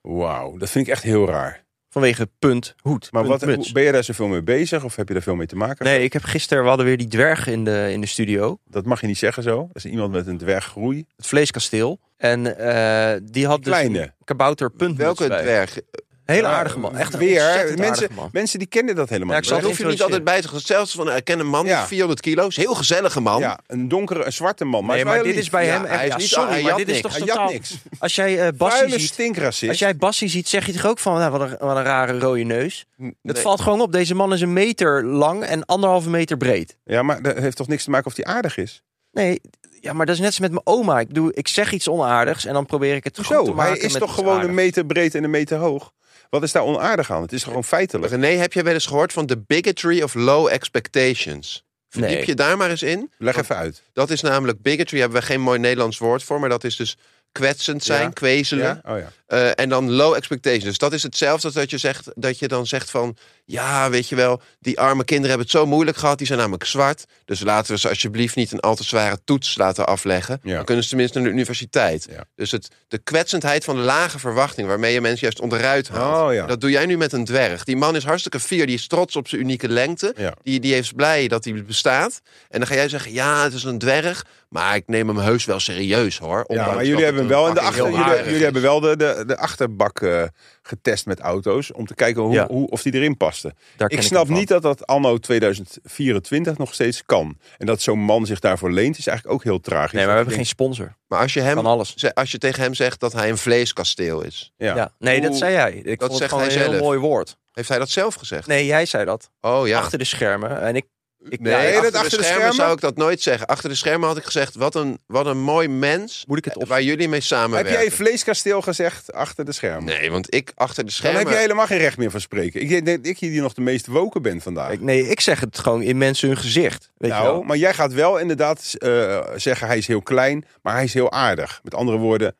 Wauw, dat vind ik echt heel raar. Vanwege punt hoed. Maar punt wat, muts. hoe- ben je daar zoveel mee bezig of heb je daar veel mee te maken? Nee, ik heb gisteren, we hadden weer die dwerg in de, in de studio. Dat mag je niet zeggen zo. Dat is iemand met een dwerggroei. Het vleeskasteel. En eh, die had dus Kleine. een kabouter punt welke bij. dwerg? Hele Maar, aardige man. Echt een weer. ontzettend Mensen, aardige man. mensen die kennen dat helemaal Ja, ik niet. zal Daar het hoef je niet altijd bij te gaan. Zelfs van, eh, ik ken een man, Ja. 400 kilo, is een heel gezellige man. Ja, een donkere, een zwarte man. Maar, nee, hij maar dit is wel is bij Ja, hem echt... hij is ja, niet- sorry, hij maar jat dit is niks. toch Hij jat totaal... niks. Als jij eh Bassie Vuile ziet... stinkracist. Als jij Bassie ziet, zeg je toch ook van, nou, wat, een, wat een rare rode neus. Het Nee. valt gewoon op. Deze man is een meter lang en anderhalve meter breed. Ja, maar dat heeft toch niks te maken of die aardig is? Nee, ja, maar dat is net als met mijn oma. Ik, doe, ik zeg iets onaardigs en dan probeer ik het goed te Hoezo? maken Hij is met toch iets gewoon een aardigs. meter breed en een meter hoog? Wat is daar onaardig aan? Het is gewoon feitelijk. René, heb jij wel eens gehoord van The Bigotry of Low Expectations? Verdiep Nee. je daar maar eens in. Leg even uit. Dat is namelijk bigotry, hebben we geen mooi Nederlands woord voor, maar dat is dus kwetsend zijn, Ja. kwezelen. Ja? Oh ja. Eh, en dan low expectations. Dus dat is hetzelfde als dat je, zegt, dat je dan zegt van... ja, weet je wel, die arme kinderen hebben het zo moeilijk gehad. Die zijn namelijk zwart. Dus laten we ze alsjeblieft niet een al te zware toets laten afleggen. Ja. Dan kunnen ze tenminste naar de universiteit. Ja. Dus het, de kwetsendheid van de lage verwachting... waarmee je mensen juist onderuit haalt. Oh, ja. Dat doe jij nu met een dwerg. Die man is hartstikke fier. Die is trots op zijn unieke lengte. Ja. Die, die is blij dat hij bestaat. En dan ga jij zeggen, ja, het is een dwerg... maar ik neem hem heus wel serieus, hoor. ja, Ondanks maar dat jullie het hebben een wel, in de fucking achter, heel jullie, aardig jullie is. hebben wel de, de, de achterbak eh, getest met auto's. Om te kijken hoe, Ja. hoe, of die erin paste. Daar ken Ik ik snap hem van. niet dat dat anno 2024 nog steeds kan. En dat zo'n man zich daarvoor leent is eigenlijk ook heel tragisch. Nee, maar we Dat hebben ik geen sponsor. Maar als je, hem, Kan alles. ze- als je tegen hem zegt dat hij een vleeskasteel is, denk- Ja. Nee, dat Oeh, zei jij. Ik dat vond het zegt gewoon een hij heel zelf. mooi woord. heeft hij dat zelf gezegd? Nee, jij zei dat. Oh ja. Achter de schermen. En ik, ik nee, ja, achter, dat de, achter de schermen, schermen? zou ik dat nooit zeggen. Achter de schermen had ik gezegd, wat een, wat een mooi mens Moet ik het op? waar jullie mee Heb samenwerken. jij vleeskasteel gezegd achter de schermen? Nee, want ik achter de Dan schermen... heb je helemaal geen recht meer van spreken. Ik denk dat ik hier die nog de meest woken ben vandaag. Ik- nee, ik zeg het gewoon in mensen hun gezicht. Weet je wel? nou, maar jij gaat wel inderdaad eh, zeggen hij is heel klein, maar hij is heel aardig. Met andere woorden,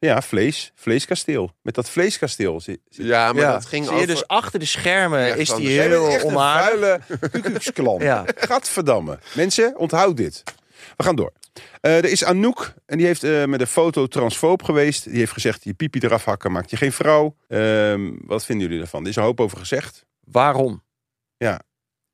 Ja, vlees. Vleeskasteel. Met dat vleeskasteel. Ze- ze- Ja, maar Ja. dat ging Zie je, over... dus achter de schermen Ja, is die Xander. Jij Echt heel een onaardig. [laughs] vuile kukuksklon. Ja. Gadverdamme. Mensen, onthoud dit. We gaan door. Eh, er is Anouk en die heeft eh, met een foto transfoob geweest. Die heeft gezegd, je pipi eraf hakken maakt je geen vrouw. Ehm, wat vinden jullie ervan? Er is een hoop over gezegd. Waarom?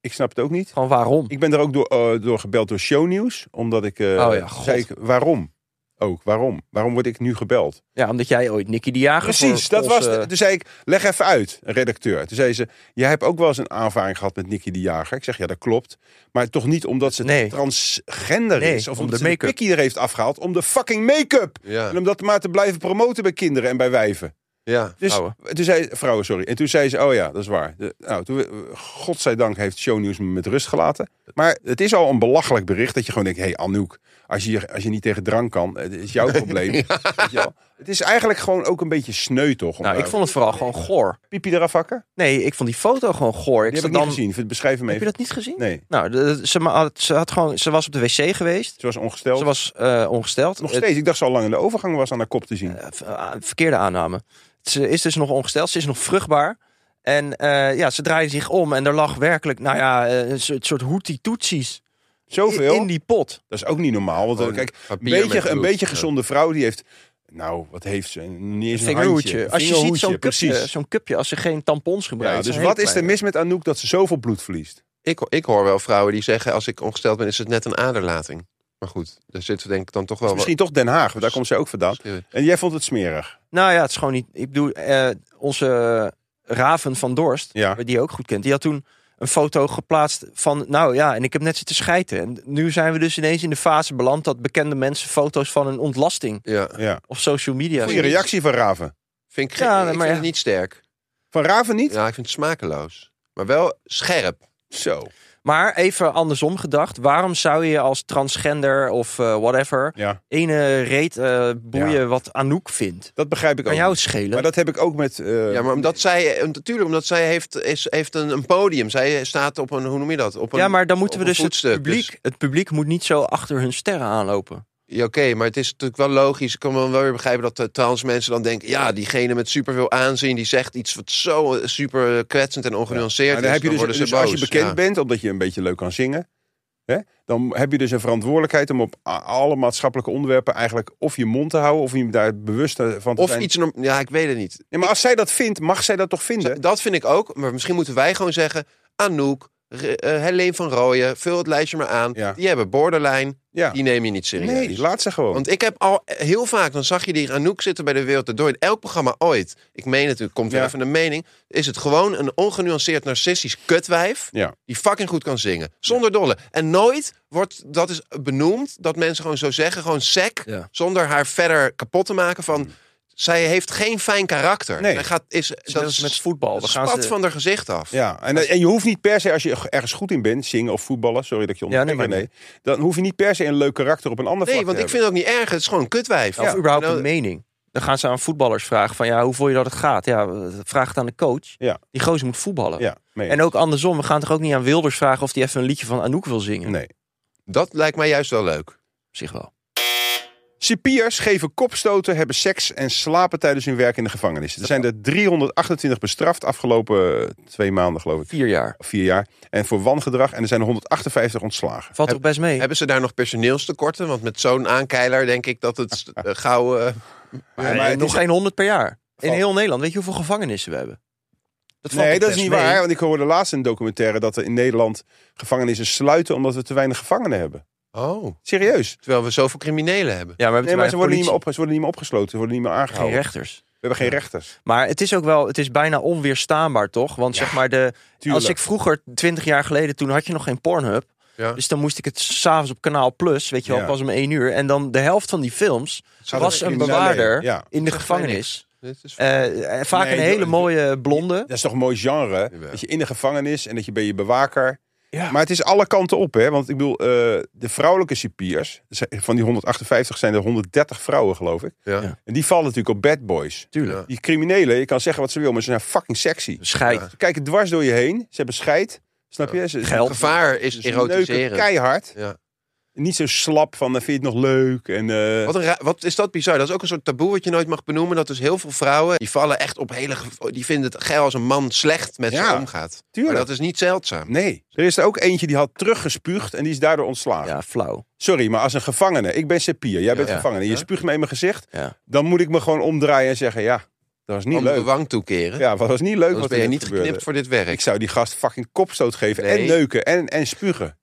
Ik snap het ook niet. Gewoon waarom? Ik ben er ook door, eh, door gebeld door shownieuws. Omdat ik... eh, Oh ja, god. zei ik, waarom? Ook, waarom? Waarom word ik nu gebeld? Ja, omdat jij ooit Nicky de Jager Precies, voor eh, dat was. onze- de- Toen zei ik, leg even uit, een redacteur. Toen zei ze, jij hebt ook wel eens een aanvaring gehad met Nicky de Jager. Ik zeg, ja, dat klopt. Maar toch niet omdat ze Nee. transgender Nee, is. Of om omdat de ze de make-up. pikkie er heeft afgehaald. Om de fucking make-up. Ja, En om dat maar te blijven promoten bij kinderen en bij wijven. ja. Dus Vrouwen. Toen zei, vrouwen, sorry. En toen zei ze, oh ja, dat is waar. De- nou, toen, we- godzijdank heeft shownieuws me met rust gelaten. Maar het is al een belachelijk bericht dat je gewoon denkt... hé hey Anouk, als je, als je niet tegen drank kan, het is jouw [laughs] probleem. Weet je wel? Het is eigenlijk gewoon ook een beetje sneu, toch? om Nou, ik daar- vond het vooral gewoon goor. Pipi eraf hakken? Nee, ik vond die foto gewoon goor. Die heb zat ik niet dan- gezien. Vind- Beschrijf hem Heb je even. dat niet gezien? Nee, Nou, de- ze, ma- had, ze, had gewoon, ze was op de wc geweest. ze was ongesteld. Ze was eh, ongesteld. Nog Het- steeds. Ik dacht ze al lang in de overgang was aan haar kop te zien. eh, v- ah, verkeerde aanname. Ze is dus nog ongesteld, ze is nog vruchtbaar. En eh, ja, ze draaide zich om en er lag werkelijk, nou ja, eh, een soort, soort hoetie-toetsies Zoveel. in die pot. Dat is ook niet normaal. Want eh, Gewoon kijk, een papier met beetje, een bloed. beetje Ja. gezonde vrouw die heeft... Nou, wat heeft ze? Niet eens een handje. Vingerhoedje. Een Als je ziet vingerhoedje, zo'n cupje, Precies. zo'n cupje, als ze geen tampons gebruikt. Ja, dus zo'n wat hele is er kleine. mis met Anouk dat ze zoveel bloed verliest? Ik, ik hoor wel vrouwen die zeggen, als ik ongesteld ben, is het net een aderlating. Maar goed, daar zitten we denk ik dan toch wel... wat- Misschien toch Den Haag, want daar komt ze ook vandaan. En jij vond het smerig. Nou ja, het is gewoon niet. Ik bedoel, eh, onze Raven van Dorst, Ja. die je ook goed kent, die had toen een foto geplaatst van. Nou ja, en ik heb net zitten schijten. En nu zijn we dus ineens in de fase beland dat bekende mensen foto's van een ontlasting Ja, Ja. op social media. Goeie zien. reactie van Raven. vind ik, Ja, ik maar vind ja. het niet sterk. Van Raven niet? Ja, ik vind het smakeloos. Maar wel scherp. Zo. Maar even andersom gedacht, waarom zou je als transgender of eh, whatever Ja, ene reet eh, boeien wat Anouk vindt? dat begrijp ik ook. Kan jou niet. het schelen? Maar dat heb ik ook met... eh, Ja, maar omdat zij, eh, natuurlijk, omdat zij heeft, is, heeft een, een podium. Zij staat op een, hoe noem je dat? Op een, ja, maar dan moeten we op een dus het voetstuk, publiek, het publiek moet niet zo achter hun sterren aanlopen. Ja, oké, maar het is natuurlijk wel logisch. Ik kan wel weer begrijpen dat eh, trans mensen dan denken... ja, diegene met superveel aanzien, die zegt iets wat zo eh, super eh, kwetsend en ongenuanceerd Maar dan is. heb je dus, worden ze dus als je boos. bekend Ja. bent, omdat je een beetje leuk kan zingen, hè, dan heb je dus een verantwoordelijkheid om op a- alle maatschappelijke onderwerpen eigenlijk of je mond te houden of je daar bewust eh, van te Of zijn. iets... norm- Ja, ik weet het niet. Nee, maar als zij dat vindt, mag zij dat toch vinden? Dat vind ik ook. Maar misschien moeten wij gewoon zeggen... Anouk, Re- eh, Helene van Rooyen, vul het lijstje maar aan. Ja. Die hebben borderline. Ja. Die neem je niet serieus. Nee, laat ze gewoon. Want ik heb al eh, heel vaak, dan zag je die Anouk zitten bij de Wereld Erdoor in elk programma ooit. Ik meen het, er komt weer Ja. even een mening. Is het gewoon een ongenuanceerd narcistisch kutwijf Ja. die fucking goed kan zingen. Zonder dolle. En nooit wordt, dat is benoemd, dat mensen gewoon zo zeggen, gewoon sec. Ja. Mm. Zonder haar verder kapot te maken van... Zij heeft geen fijn karakter. Nee. Zij gaat, is, dat Dat is met voetbal. dat Dan gaan spat ze- van haar gezicht af. Ja, en, en je hoeft niet per se, als je ergens goed in bent, zingen of voetballen, sorry dat ik je Ja, nee, onderbreek, maar nee, dan hoef je niet per se een leuk karakter op een ander vlak Nee, te want ik hebben. vind het ook niet erg. Het is gewoon een kutwijf. Nou, Of überhaupt En Nou, dan- een mening. Dan gaan ze aan voetballers vragen van ja, hoe voel je dat het gaat? Ja, vraag het aan de coach. Ja. Die gozer moet voetballen. Ja, mee. En ook andersom, we gaan toch ook niet aan Wilders vragen of hij even een liedje van Anouk wil zingen? Nee. Dat lijkt mij juist wel leuk. Op zich wel. Cipiers geven kopstoten, hebben seks en slapen tijdens hun werk in de gevangenis. Er zijn er 328 bestraft afgelopen eh, twee maanden, geloof ik. Vier jaar. vier jaar. En voor wangedrag. En er zijn 158 ontslagen. Valt Heb- toch best mee? Hebben ze daar nog personeelstekorten? Want met zo'n aankeiler denk ik [laughs] dat het eh, gauw... eh, En maar het nog is- geen honderd per jaar. In Valt- heel Nederland. Weet je hoeveel gevangenissen we hebben? Dat valt Nee, toch dat is best niet mee? waar. Want ik hoorde laatst in een documentaire dat er in Nederland gevangenissen sluiten omdat we te weinig gevangenen hebben. oh, Serieus. terwijl we zoveel criminelen hebben. Ja, maar, we hebben Nee, maar ze worden, niet meer op... op, ze worden niet meer opgesloten. Ze worden niet meer Geen aangehouden. rechters. We hebben geen rechters. Maar het is ook wel, het is bijna onweerstaanbaar, toch? Want zeg maar, de, tuurlijk. als ik vroeger, 20 jaar geleden, toen had je nog geen Pornhub. Ja. Dus dan moest ik het s'avonds op kanaal Plus, weet je wel, Ja. pas om één uur. En dan de helft van die films Zou was dat een crimineel bewaarder zijn? Ja. in de Zegt mij gevangenis. Dit is... Eh, eh, vaak Nee, een hele joh, mooie blonde. Dat is toch een mooi genre? Jawel. Dat je in de gevangenis en dat je bij je bewaker. Ja. Maar het is alle kanten op, hè? Want ik bedoel, eh, de vrouwelijke cipiers, ze- van die 158 zijn er 130 vrouwen, geloof ik. ja. Ja. En die vallen natuurlijk op bad boys. Tuurlijk. Die criminelen, je kan zeggen wat ze wil, maar ze zijn fucking sexy. Scheid. Ja. Ze kijken dwars door je heen. Ze hebben scheid. Snap je? Ze, Geld. Gevaar is Ze neuken erotiseren. keihard. Ja. Niet zo slap van, eh, vind je het nog leuk? En, eh, Wat, een ra- wat is dat bizar? Dat is ook een soort taboe wat je nooit mag benoemen. Dat dus heel veel vrouwen, die vallen echt op hele... gevo- Die vinden het geil als een man slecht met Ja, ze omgaat. tuurlijk. Maar dat is niet zeldzaam. Nee. Er is er ook eentje die had teruggespuugd en die is daardoor ontslagen. Ja, flauw. Sorry, maar als een gevangene, ik ben Sepier, jij bent ja. gevangene, je Ja. spuugt me in mijn gezicht, Ja. dan moet ik me gewoon omdraaien en zeggen, ja, dat was niet Om de leuk. wang toekeren. Ja, dat was niet leuk Anders wat ben er je net niet gebeurde. geknipt voor dit werk. Ik zou die gast fucking kopstoot geven en Nee. neuken en, en spugen.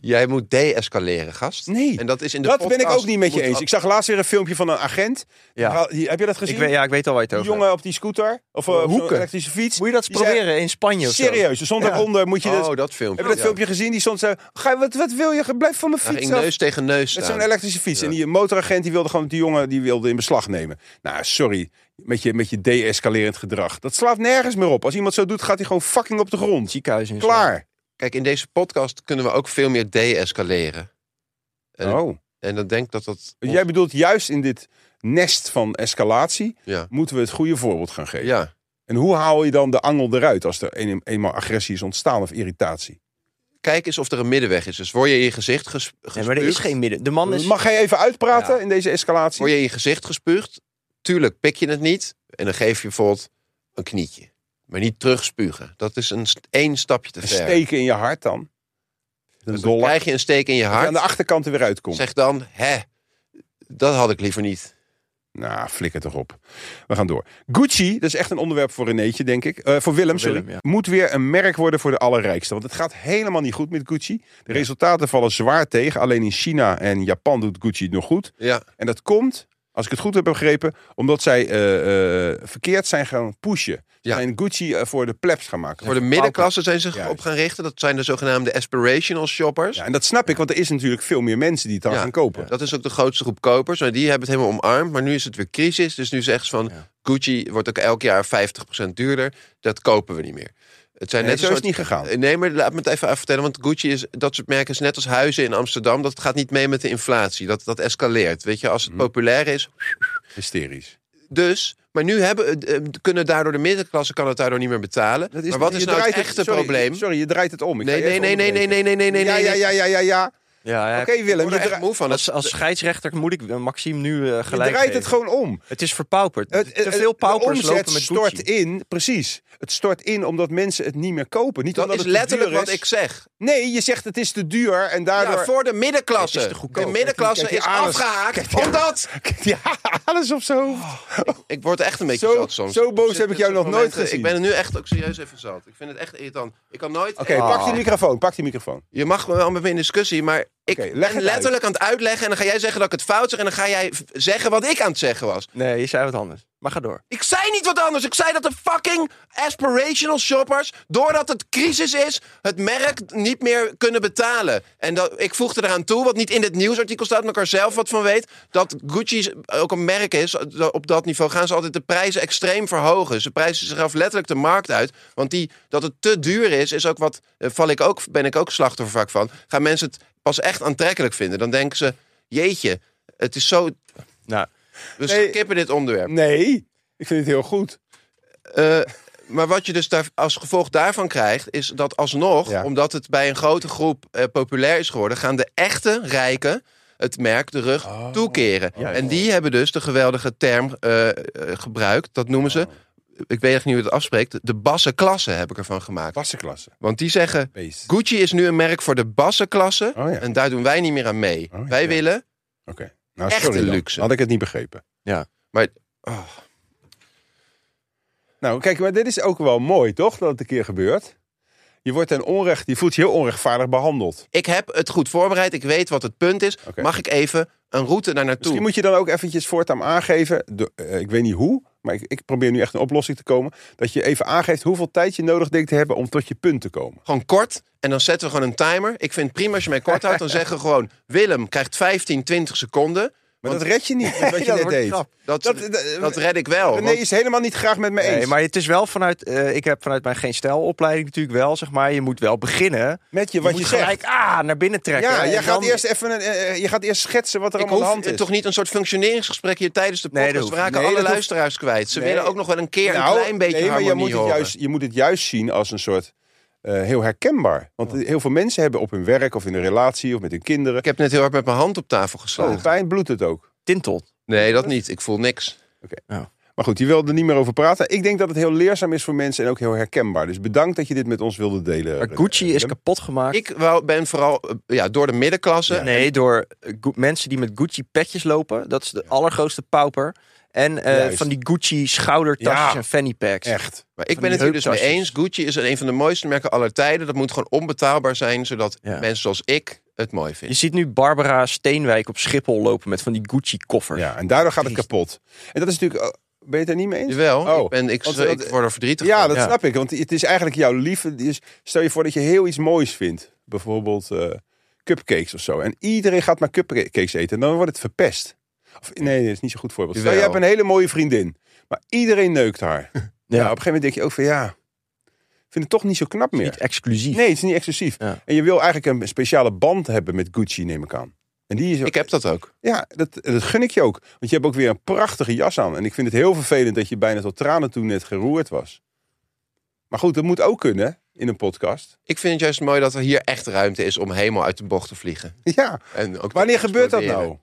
Jij moet de-escaleren, gast. Nee. En dat is in de Dat ben podcast- ik ook niet met je moet- eens. Ik zag laatst weer een filmpje van een agent. Ja. Die haal- die- heb je dat gezien? Ik weet, ja, ik weet al waar je het Die over jongen op die scooter of eh, op zo'n Hoeken. elektrische fiets. hebt. Moet je dat eens Die zei- proberen in Spanje of zo? Serieus, er stond daaronder, moet je dat... Oh, dat filmpje. Heb je dat Ja. filmpje gezien? Die stond zo, "Ga- wat, wat wil je? Blijf van mijn Daar fiets ging af. neus tegen neus Met staan. zo'n elektrische fiets. Ja. En die motoragent die wilde gewoon die jongen die wilde in beslag nemen. Nou, sorry. Met je, met je de-escalerend gedrag. Dat slaat nergens meer op. Als iemand zo doet, gaat hij gewoon fucking op de grond. Ziekenhuis in Klaar. Kijk, in deze podcast kunnen we ook veel meer de-escaleren. En, Oh. en dan denk ik dat dat... dus Jij bedoelt juist in dit nest van escalatie Ja. moeten we het goede voorbeeld gaan geven. ja. En hoe haal je dan de angel eruit als er een- eenmaal agressie is ontstaan of irritatie? Kijk eens of er een middenweg is. Dus word je in je gezicht ges Spanje. Nee, maar er is gespuugd? geen midden. De man is... Mag jij even uitpraten Ja. in deze escalatie? Word je in je gezicht gespuugd? Tuurlijk pik je het niet. En dan geef je bijvoorbeeld een knietje. Maar niet terugspugen. Dat is een st- één stapje te Een ver. steken in je hart dan? Een Dus dan dollar. krijg je een steek in je Dat je hart. aan de achterkant er weer uitkomt. Zeg dan, hè, dat had ik liever niet. Nou, flikker toch op. We gaan door. Gucci, dat is echt een onderwerp voor Renéetje, denk ik. Eh, voor Willem, Voor Willem, sorry. ja. Moet weer een merk worden voor de allerrijkste. Want het gaat helemaal niet goed met Gucci. De resultaten vallen zwaar tegen. Alleen in China en Japan doet Gucci het nog goed. Ja. En dat komt, als ik het goed heb begrepen, omdat zij eh, eh, verkeerd zijn gaan pushen. Ze Ja. zijn Gucci eh, voor de plebs gaan maken. Voor de middenklasse zijn ze Juist. op gaan richten. Dat zijn de zogenaamde aspirational shoppers. Ja, en dat snap ik, want er is natuurlijk veel meer mensen die het dan Ja. gaan kopen. Dat is ook de grootste groep kopers. Maar die hebben het helemaal omarmd. Maar nu is het weer crisis. Dus nu zeggen ze van Ja. Gucci wordt ook elk jaar 50% duurder. Dat kopen we niet meer. Het zijn Nee, net zo een is het niet gegaan. Eh, Nee, maar laat me het even af vertellen. Want Gucci is dat soort merken is net als huizen in Amsterdam. Dat gaat niet mee met de inflatie. Dat, dat escaleert. Weet je, als Mhm. het populair is. Hysterisch. Dus. Maar nu hebben, eh, eh, kunnen daardoor de middenklasse kan het daardoor niet meer betalen. maar wat is je nou het draait echte sorry, probleem? Sorry, je draait het om. Ik Nee, ga je nee, even nee, nee, nee, onderbreken. nee, nee, nee, nee. Ja, nee. ja, ja, ja, ja, ja. Ja, ja, Oké, Willem, Ik je word er dra- echt moe van. Dat als, als scheidsrechter moet ik eh, Maxime nu eh, Je gelijk draait het geven. gewoon om. Het is verpauperd. Het, Te veel paupers de omzet lopen met stort Gucci. in, precies. Het stort in omdat mensen het niet meer kopen. Niet dat omdat is het te letterlijk duur wat is. ik zeg. Nee, je zegt het is te duur en daardoor... Ja, voor de middenklasse. Het is te goedkoop. De middenklasse Kijk die is anus. afgehaakt. [laughs] Omdat. Ja, alles op zo. Ik word er echt een beetje Zo- zat soms. zo boos zit heb ik in jou zo'n nog nooit momenten- gezien. Ik ben er nu echt ook serieus even zat. Ik vind het echt irritant. Ik kan nooit. Ah. Oké, pak die microfoon, pak die microfoon. Je mag wel met me in discussie, maar ik Oké, leg ben het letterlijk aan het uitleggen. En dan ga jij zeggen dat ik het fout zeg. En dan ga jij v- zeggen wat ik aan het zeggen was. Nee, je zei wat anders. Maar ga door. Ik zei niet wat anders. Ik zei dat de fucking aspirational shoppers, doordat het crisis is, het merk niet meer kunnen betalen. En dat, ik voegde eraan toe, wat niet in het nieuwsartikel staat, maar ik er zelf wat van weet, dat Gucci ook een merk is. Op dat niveau gaan ze altijd de prijzen extreem verhogen. Ze prijzen zichzelf letterlijk de markt uit. Want die, dat het te duur is, is ook wat, eh, val ik ook, ben ik ook slachtoffer vaak van. Gaan mensen het pas echt aantrekkelijk vinden. Dan denken ze, jeetje, het is zo... Nou, We Nee. skippen dit onderwerp. Nee, ik vind het heel goed. Eh, maar wat je dus daar, als gevolg daarvan krijgt, is dat alsnog, Ja. omdat het bij een grote groep eh, populair is geworden, gaan de echte rijken het merk de rug Oh, toekeren. en die hebben dus de geweldige term eh, eh, gebruikt. Dat noemen ze, ik weet echt niet hoe het afspreekt, de basse klasse heb ik ervan gemaakt. Wassenklasse. Want die zeggen, Beest. Gucci is nu een merk voor de basse klasse Oh ja. en daar doen wij niet meer aan mee. Oh ja. wij willen, Oké. Nou, Echte sorry dan. luxe. Had ik het niet begrepen. maar Nou, kijk, maar dit is ook wel mooi, toch? Dat het een keer gebeurt. Je wordt ten onrecht, je voelt je heel onrechtvaardig behandeld. ik heb het goed voorbereid, ik weet wat het punt is. Oké. Mag ik even een route daar naartoe? Misschien moet je dan ook eventjes voortaan aangeven, de- eh, ik weet niet hoe, maar ik, ik probeer nu echt een oplossing te komen, dat je even aangeeft hoeveel tijd je nodig denkt te hebben om tot je punt te komen. Gewoon kort. En dan zetten we gewoon een timer. Ik vind het prima als je mij kort houdt. Dan zeggen we gewoon: Willem krijgt 15, 20 seconden. Maar dat red je niet, met wat je dat net wordt deed. knap. Dat, Dat- dat, dat- red ik wel. René want- is helemaal niet graag met me eens. Nee, maar het is wel vanuit... eh, ik heb vanuit mijn geen stijlopleiding natuurlijk wel, zeg maar. Je moet wel beginnen. Met je wat je, moet zegt. gelijk ah, naar binnen trekken. ja, En jij gaat dan- eerst even een, eh, je gaat eerst schetsen wat er ik allemaal aan de hoef hand is. toch niet een soort functioneringsgesprek hier tijdens de Nee, dat podcast. we hoeft- raken nee, alle dat hoeft- luisteraars kwijt. Ze Nee. willen ook nog wel een keer Nou, een klein beetje nee, maar je harmonie moet, het horen. juist, je moet het juist zien als een soort eh, heel herkenbaar. Want heel veel mensen hebben op hun werk of in een relatie of met hun kinderen. Ik heb net heel hard met mijn hand op tafel Oh, geslagen. pijn bloedt het ook. Tintelt. Nee, dat niet. Ik voel niks. Maar goed, die wilde er niet meer over praten. Ik denk dat het heel leerzaam is voor mensen en ook heel herkenbaar. Dus bedankt dat je dit met ons wilde delen. Maar Gucci is Willem. kapot gemaakt. Ik wou- ben vooral eh, ja, door de middenklasse. Nee, door eh, Gu- mensen die met Gucci petjes lopen. Dat is de allergrootste pauper. En eh, Juist. van die Gucci schoudertasjes Ja. en fanny packs. Echt. Maar ik die ben het hier dus mee eens. heuptasjes. Gucci is een van de mooiste merken aller tijden. Dat moet gewoon onbetaalbaar zijn, zodat Ja. mensen zoals ik het mooi Je vinden. ziet nu Barbara Steenwijk op Schiphol lopen met van die Gucci-koffers. Ja, en daardoor gaat het kapot. En dat is natuurlijk... oh, ben je het er niet mee eens? Jawel, Oh, ik, ben, ik, want- ik want- word er verdrietig Ja, van. dat Ja. snap ik. Want het is eigenlijk jouw liefde. die is- stel je voor dat je heel iets moois vindt. Bijvoorbeeld eh, cupcakes of zo. En iedereen gaat maar cupcakes eten. Dan wordt het verpest. Of, nee, dat is niet zo goed voorbeeld. Stel, je Jawel. hebt een hele mooie vriendin. Maar iedereen neukt haar. ja. Ja. op een gegeven moment denk je ook van ja... Ik vind het toch niet zo knap meer. Niet exclusief. Nee, het is niet exclusief. Ja. En je wil eigenlijk een speciale band hebben met Gucci, neem ik aan. En die is Ik heb dat ook. ja, dat, dat gun ik je ook. Want je hebt ook weer een prachtige jas aan. En ik vind het heel vervelend dat je bijna tot tranen toe net geroerd was. Maar goed, dat moet ook kunnen in een podcast. [laughs] Ik vind het juist mooi dat er hier echt ruimte is om helemaal uit de bocht te vliegen. Ja, En ook wanneer te gebeurt dat exploderen. nou?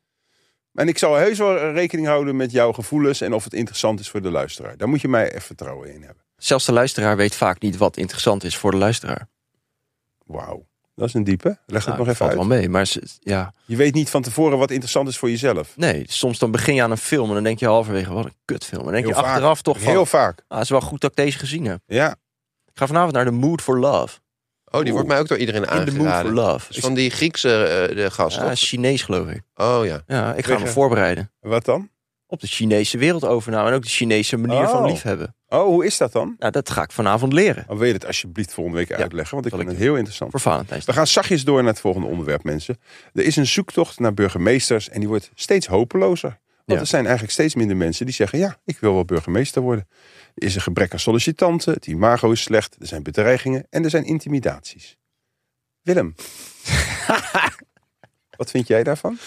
En ik zal heus wel rekening houden met jouw gevoelens en of het interessant is voor de luisteraar. Daar moet je mij even vertrouwen in hebben. Zelfs de luisteraar weet vaak niet wat interessant is voor de luisteraar. Wauw, dat is een diepe. Leg het Nou, nog even valt uit. wel mee. Maar ze- ja, Je weet niet van tevoren wat interessant is voor jezelf. nee, soms dan begin je aan een film en dan denk je halverwege, wat een kutfilm. En dan denk Heel je vaak. achteraf toch van, Heel vaak. ah, het is wel goed dat ik deze gezien heb. Ja, Ik ga vanavond naar The Mood for Love. Oh, die wordt mij ook door iedereen In The Mood for aangeraden. Love. Dat is van die Griekse eh, de gast, Ja, toch? Chinees geloof ik. Oh ja. Ja, ik ga me Tegen- voorbereiden wat dan? op de Chinese wereldovernaam en ook de Chinese manier van Oh. liefhebben. Oh, hoe is dat dan? Nou, dat ga ik vanavond leren Oh, wil je het alsjeblieft volgende week uitleggen? Want ik zal vind ik het heel interessant. voor Valentijnsdag. We gaan zachtjes door naar het volgende onderwerp, mensen. Er is een zoektocht naar burgemeesters en die wordt steeds hopelozer. Want Ja. er zijn eigenlijk steeds minder mensen die zeggen: Ja, ik wil wel burgemeester worden. Er is een gebrek aan sollicitanten, het imago is slecht, er zijn bedreigingen en er zijn intimidaties. Willem, wat vind jij daarvan?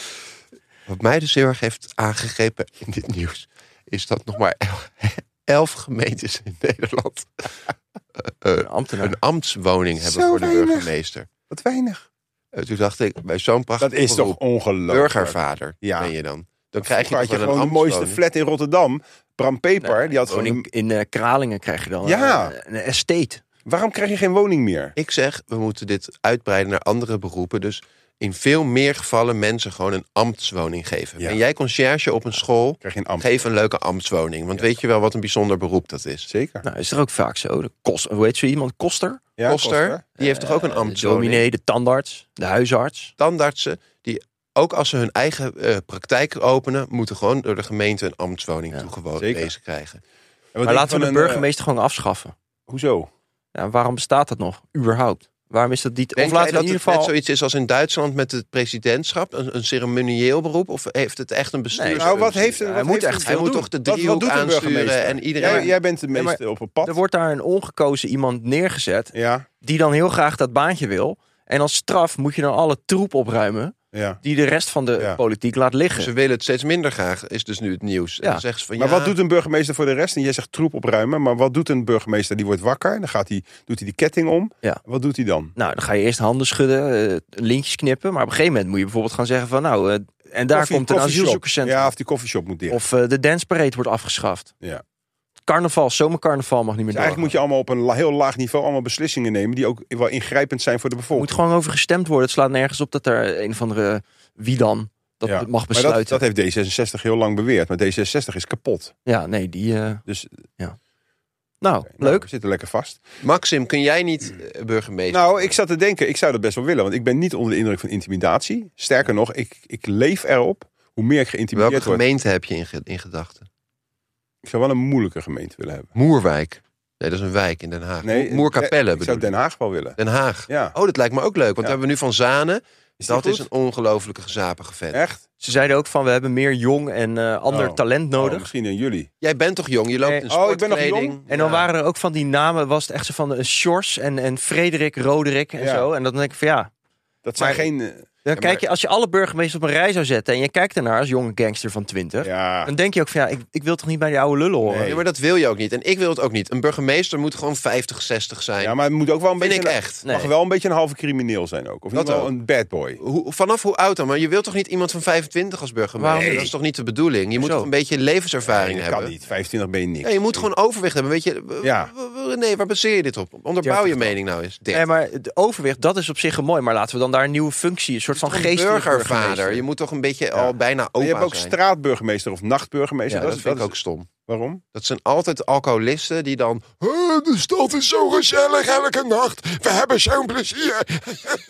Wat mij dus heel erg heeft aangegrepen in dit nieuws, is dat nog maar elf, [laughs] elf gemeentes in Nederland eh, Een ambtenaar. een ambtswoning hebben Zo voor de weinig. burgemeester. Wat weinig. Eh, toen dacht ik, bij zo'n prachtig Dat is toch ongelooflijk? burgervader Ja. ben je dan. Dan krijg je, Vroeger toch had je wel een gewoon de mooiste ambtswoning. flat in Rotterdam. Bram Peper, die had gewoon. Woning een- in eh, Kralingen krijg je dan Ja. eh, een estate. Waarom krijg je geen woning meer? Ik zeg, we moeten dit uitbreiden naar andere beroepen. Dus in veel meer gevallen mensen gewoon een ambtswoning geven. Ja. Ben jij conciërge op een school? Krijg je een ambt? Geef een leuke ambtswoning. Want weet je wel wat een bijzonder beroep dat is? Zeker. Nou, is er ook vaak zo. De kost, hoe heet zo iemand? Koster? Ja, Koster, die heeft toch ook een Eh, De ambtswoning? dominee, de tandarts, de huisarts. tandartsen die ook als ze hun eigen eh, praktijk openen, moeten gewoon door de gemeente een ambtswoning Ja, toegewezen krijgen. En wat Maar denk je laten van we de een, burgemeester gewoon afschaffen. eh, hoezo? Ja, waarom bestaat dat nog, überhaupt? Waarom is dat niet... Denk of jij laten we dat in ieder het net geval... zoiets is als in Duitsland met het presidentschap, een, een ceremonieel beroep, of heeft het echt een bestuurs? Nou, wat heeft een, Hij wat moet heeft echt een- Hij veel moet doen? toch de Wat- wat driehoek doet een aansturen burgemeester? en iedereen. Jij, jij bent de Nee, meeste maar- op het pad. Er wordt daar een ongekozen iemand neergezet... Ja, die dan heel graag dat baantje wil. En als straf moet je dan alle troep opruimen... ja. die de rest van de Ja. politiek laat liggen. Ze willen het steeds minder graag, is dus nu het nieuws. En Ja. dan zeggen ze van, Maar ja, wat doet een burgemeester voor de rest? En jij zegt troep opruimen. Maar wat doet een burgemeester? Die wordt wakker. Dan gaat hij, doet hij die ketting om. Ja. Wat doet hij dan? Nou, dan ga je eerst handen schudden, eh, lintjes knippen. Maar op een gegeven moment moet je bijvoorbeeld gaan zeggen van... nou, eh, en daar Koffie- komt een koffieshop. asielzoekerscentrum. Ja, of die koffieshop moet dicht. Of eh, de dance parade wordt afgeschaft. Ja. Carnaval, zomercarnaval mag niet meer dus eigenlijk moet je doorgaan. allemaal op een la- heel laag niveau allemaal beslissingen nemen die ook wel ingrijpend zijn voor de Er bevolking. moet gewoon over gestemd worden. Het slaat nergens op dat er een of andere wie dan dat Ja. mag maar dat, besluiten. dat heeft D66 heel lang beweerd. Maar D66 is kapot. Ja, nee, die... eh, Dus Nou, Oh, nou, leuk. we zitten lekker vast. Maxim, kun jij niet eh, burgemeester? Nou, ik zat te denken, ik zou dat best wel willen. Want ik ben niet onder de indruk van intimidatie. Sterker nog, ik, ik leef erop. Hoe meer ik geïntimideerd Welke word. gemeente heb je in, ge- in gedachten? Ik zou wel een moeilijke gemeente willen hebben. Moerwijk. Nee, dat is een wijk in Den Haag. Nee, eh, Mo- Moerkapelle Ik bedoel zou ik. Den Haag wel willen. Den Haag. Ja. Oh, dat lijkt me ook leuk. Want Ja. we hebben we nu van Zanen. Is die dat is goed? een ongelofelijke gezapige vent. Echt? Ze zeiden ook van, we hebben meer jong en eh, ander Oh. talent Oh, nodig. misschien in jullie. Jij bent toch jong? Je loopt Nee. in Oh, ik ben nog sportkleding. jong? En dan Ja. waren er ook van die namen, was het echt zo van eh, Sjors en, en Frederik, Roderick en Ja. zo. En dan denk ik van ja, Dat zijn Maar- geen... eh, Dan maar- kijk je, als je alle burgemeesters op een rij zou zetten en je kijkt ernaar als jonge gangster van 20, ja. dan denk je ook van ja, ik, ik wil toch niet bij die oude lullen horen. Nee. Ja, maar dat wil je ook niet. En ik wil het ook niet. Een burgemeester moet gewoon 50, 60 zijn. ja, maar het moet ook wel een Vind beetje... ik een- echt. Nee. mag wel een beetje een halve crimineel zijn ook. Of niet Dat wel ook. een bad boy. Hoe, vanaf hoe oud dan? Maar je wilt toch niet iemand van 25 als burgemeester? Waarom? Dat is toch niet de bedoeling? Je moet Zo. toch een beetje levenservaring dat hebben? kan niet. 25 ben je niks. Oh, Ja, je moet gewoon overwicht hebben. Weet je, Ja. nee, waar baseer je dit op? Onderbouw je 30 mening nou eens. Dit. Nee, maar het overwicht, dat is op zich mooi, maar laten we dan daar een nieuwe functie, een soort van Een geestelijke burgervader. burgemeester. Je moet toch een beetje al bijna opa Maar je hebt ook zijn. straatburgemeester of nachtburgemeester. Ja, dat, dat is- vind ik dat ook is- stom. Waarom? Dat zijn altijd alcoholisten die dan... "Huh, De stad is zo gezellig elke nacht. We hebben zo'n plezier. [laughs]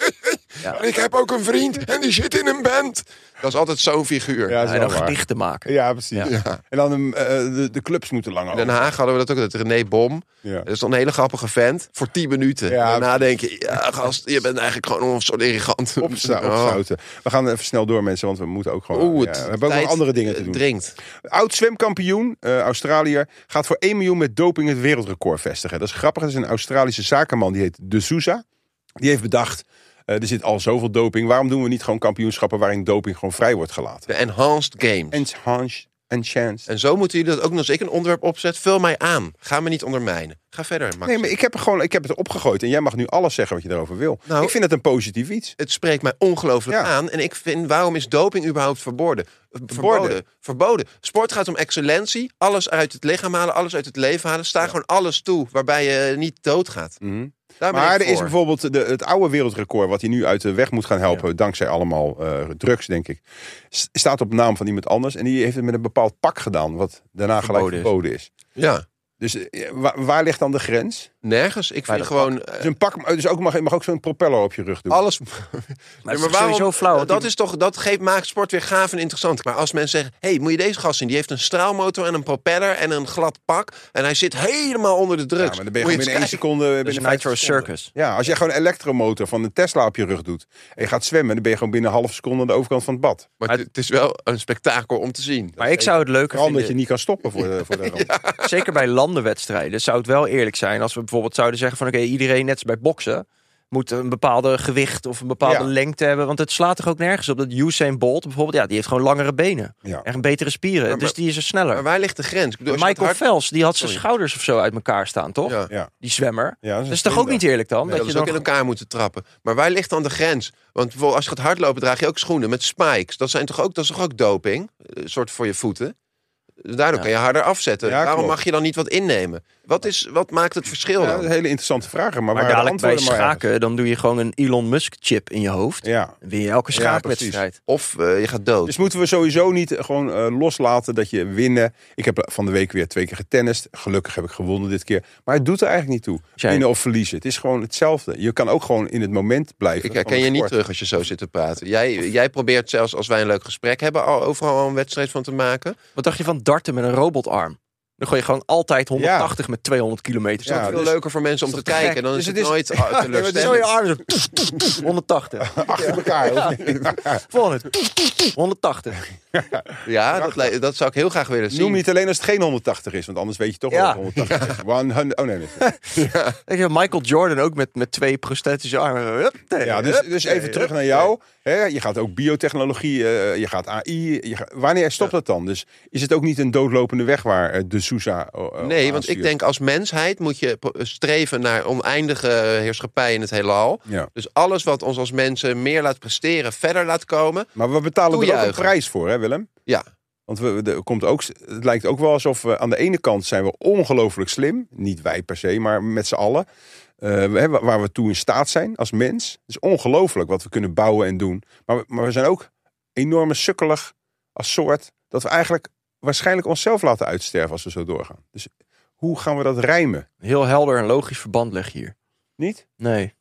Ja. En ik heb ook een vriend en die zit in een band. Dat is altijd zo'n figuur. Ja, dat is En wel dan waar. gedichten maken. Ja, precies. Ja. En dan um, eh, de, de clubs moeten lang In over. Den Haag hadden we dat ook, dat René Bom. Ja. Dat is dan een hele grappige vent. Voor 10 minuten. Ja. Daarna denk je, ja gast, je bent eigenlijk gewoon een soort irrigant. Opsta- [laughs] Oh. opzouten. We gaan even snel door, mensen, want we moeten ook gewoon. Oeh, ja, het we hebben ook nog tijd, andere dingen eh, te doen. Drinkt. Oud zwemkampioen, eh, Australiër, gaat voor 1 miljoen met doping het wereldrecord vestigen. Dat is grappig. Dat is een Australische zakenman, die heet De Souza. Die heeft bedacht: eh, er zit al zoveel doping. Waarom doen we niet gewoon kampioenschappen waarin doping gewoon vrij wordt gelaten? De Enhanced Games. En, En chance. En chance. zo moeten jullie dat ook, als ik een onderwerp opzet, vul mij aan. Ga me niet ondermijnen. Ga verder, Max. Nee, maar ik heb, er gewoon, ik heb het opgegooid en jij mag nu alles zeggen wat je erover wil. Nou- ik vind het een positief iets. Het spreekt mij ongelooflijk Ja. aan. En ik vind, waarom is doping überhaupt verboden? Eh, Verboden. Verboden. Sport gaat om excellentie. Alles uit het lichaam halen, alles uit het leven halen. Sta gewoon alles toe waarbij je niet doodgaat. Daar ben Mhm. Maar ik er is voor. bijvoorbeeld de, het oude wereldrecord, wat hij nu uit de weg moet gaan helpen, dankzij allemaal eh, drugs, denk ik. s- Staat op naam van iemand anders. En die heeft het met een bepaald pak gedaan, wat daarna Verboden gelijk is. verboden is. Ja, Dus eh, waar, waar ligt dan de grens? nergens. Ik vind gewoon... eh, Dus een pak, eh, dus ook mag, je mag ook zo'n propeller op je rug doen. Oh, Alles. toch sowieso flauw, want [laughs] Dat, die- is toch, dat geeft, maakt sport weer gaaf en interessant. Maar als mensen zeggen: hey, moet je deze gast zien? Die heeft een straalmotor en een propeller en een glad pak. En hij zit helemaal onder de ja, drugs. maar dan ben je Moet gewoon je binnen één eens kijken. seconde. eh, Dus binnen een Nitro 50 seconden. Circus. Ja, als jij gewoon een elektromotor van een Tesla op je rug doet en je gaat zwemmen, dan ben je gewoon binnen een half seconde aan de overkant van het bad. Maar het, het is wel een spektakel om te zien. Maar ik zou het leuker Vooral omdat vinden, je niet kan stoppen voor de, voor de [laughs] rand. zeker bij landenwedstrijden, zou het wel eerlijk zijn als we bijvoorbeeld zouden zeggen van oké, iedereen net als bij boksen moet een bepaalde gewicht of een bepaalde Ja. lengte hebben, want het slaat toch ook nergens op dat Usain Bolt bijvoorbeeld, ja, die heeft gewoon langere benen Ja. en betere spieren, Maar- dus die is er sneller. Maar waar ligt de grens? Ik bedoel, als je Michael het hard- Phelps, die had zijn Sorry. schouders of zo uit elkaar staan, toch? Ja. Ja. Die zwemmer. Ja, dat dat is is een toch ook vriend, niet eerlijk dan? dat Nee, dat je is ook dan in elkaar moeten trappen. Maar waar ligt dan de grens? Want bijvoorbeeld als je gaat hardlopen, draag je ook schoenen met spikes. Dat, zijn toch ook, dat is toch ook doping? Een soort voor je voeten. Daardoor Ja. kan je harder afzetten. Ja, Waarom klopt. mag je dan niet wat innemen? Wat, is, wat maakt het verschil Ja, dan? dat is een hele interessante vraag. Maar, Maar waar de dadelijk bij antwoorden maar ergens. schaken, dan doe je gewoon een Elon Musk chip in je hoofd. Ja. Dan win je elke schaakwedstrijd. Of eh, je gaat dood. Dus moeten we sowieso niet gewoon eh, loslaten dat je winnen. Ik heb eh, van de week weer twee keer getennist. Gelukkig heb ik gewonnen dit keer. Maar het doet er eigenlijk niet toe. Jij- Winnen of verliezen. Het is gewoon hetzelfde. Je kan ook gewoon in het moment blijven. Ik van herken de je niet sport. terug als je zo zit te praten. Jij, jij probeert zelfs als wij een leuk gesprek hebben al overal al een wedstrijd van te maken. Wat dacht je van darten met een robotarm? Dan gooi je gewoon altijd 180 met 200 kilometer. Ja, Zo- Veel dus- leuker voor mensen om te toch te gek? kijken. Dan is Dus het het is- [laughs] nooit [laughs] ah, Zo je teleurstellend. arm zo, toef, toef, toef, 180. Achter elkaar. Ja. Volgende. toef, toef, toef, 180. Ja, dat, lijkt- dat zou ik heel graag willen [laughs] Noem zien. niet alleen als het geen 180 is. Want anders weet je toch wel Ja. dat het 180 is. 100 oh nee, nee. Weet je, Michael Jordan ook met, met twee prosthetische armen. Hup, nee, Ja, dus, hup. dus even terug naar jou. Hè, je gaat ook biotechnologie, eh, je gaat AI. Je gaat- wanneer stopt dat dan? Dus is het ook niet een doodlopende weg waar eh, de Sousa. oh, Nee, want ik denk als mensheid moet je pro- streven naar oneindige heerschappij in het heelal. Ja. Dus alles wat ons als mensen meer laat presteren, verder laat komen. Maar we betalen er ook een Toejuichen. prijs voor, hè, Willem? Ja, Want we, er komt ook, het lijkt ook wel alsof we aan de ene kant zijn we ongelooflijk slim. Niet wij per se, maar met z'n allen. Eh, we hebben- waar we toe in staat zijn als mens. Het is ongelooflijk wat we kunnen bouwen en doen. Maar, we- maar we zijn ook enorme sukkelig als soort. Dat we eigenlijk waarschijnlijk onszelf laten uitsterven als we zo doorgaan. Dus hoe gaan we dat rijmen? Heel helder en logisch verband leg je hier. Niet? Nee.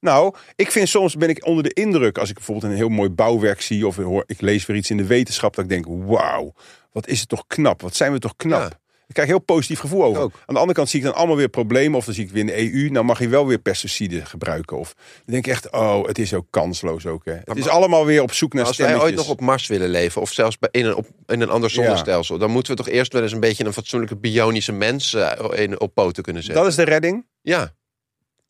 Nou, ik vind soms ben ik onder de indruk als ik bijvoorbeeld een heel mooi bouwwerk zie of ik hoor, ik lees weer iets in de wetenschap dat ik denk, wauw, wat is het toch knap? Wat zijn we toch knap? Ja. Ik krijg een heel positief gevoel over. ook. Aan de andere kant zie ik dan allemaal weer problemen of dan zie ik weer in de EU, nou mag je wel weer pesticiden gebruiken of dan denk ik echt, oh, het is ook kansloos ook. Hè. Het is allemaal weer op zoek naar Nou, als wij ooit stemmetjes. nog op Mars willen leven, of zelfs bij- in een, op, in een ander zonnestelsel, dan moeten we toch eerst wel eens een beetje een fatsoenlijke bionische mens eh, in, op poten kunnen zetten. Dat is de redding. Ja.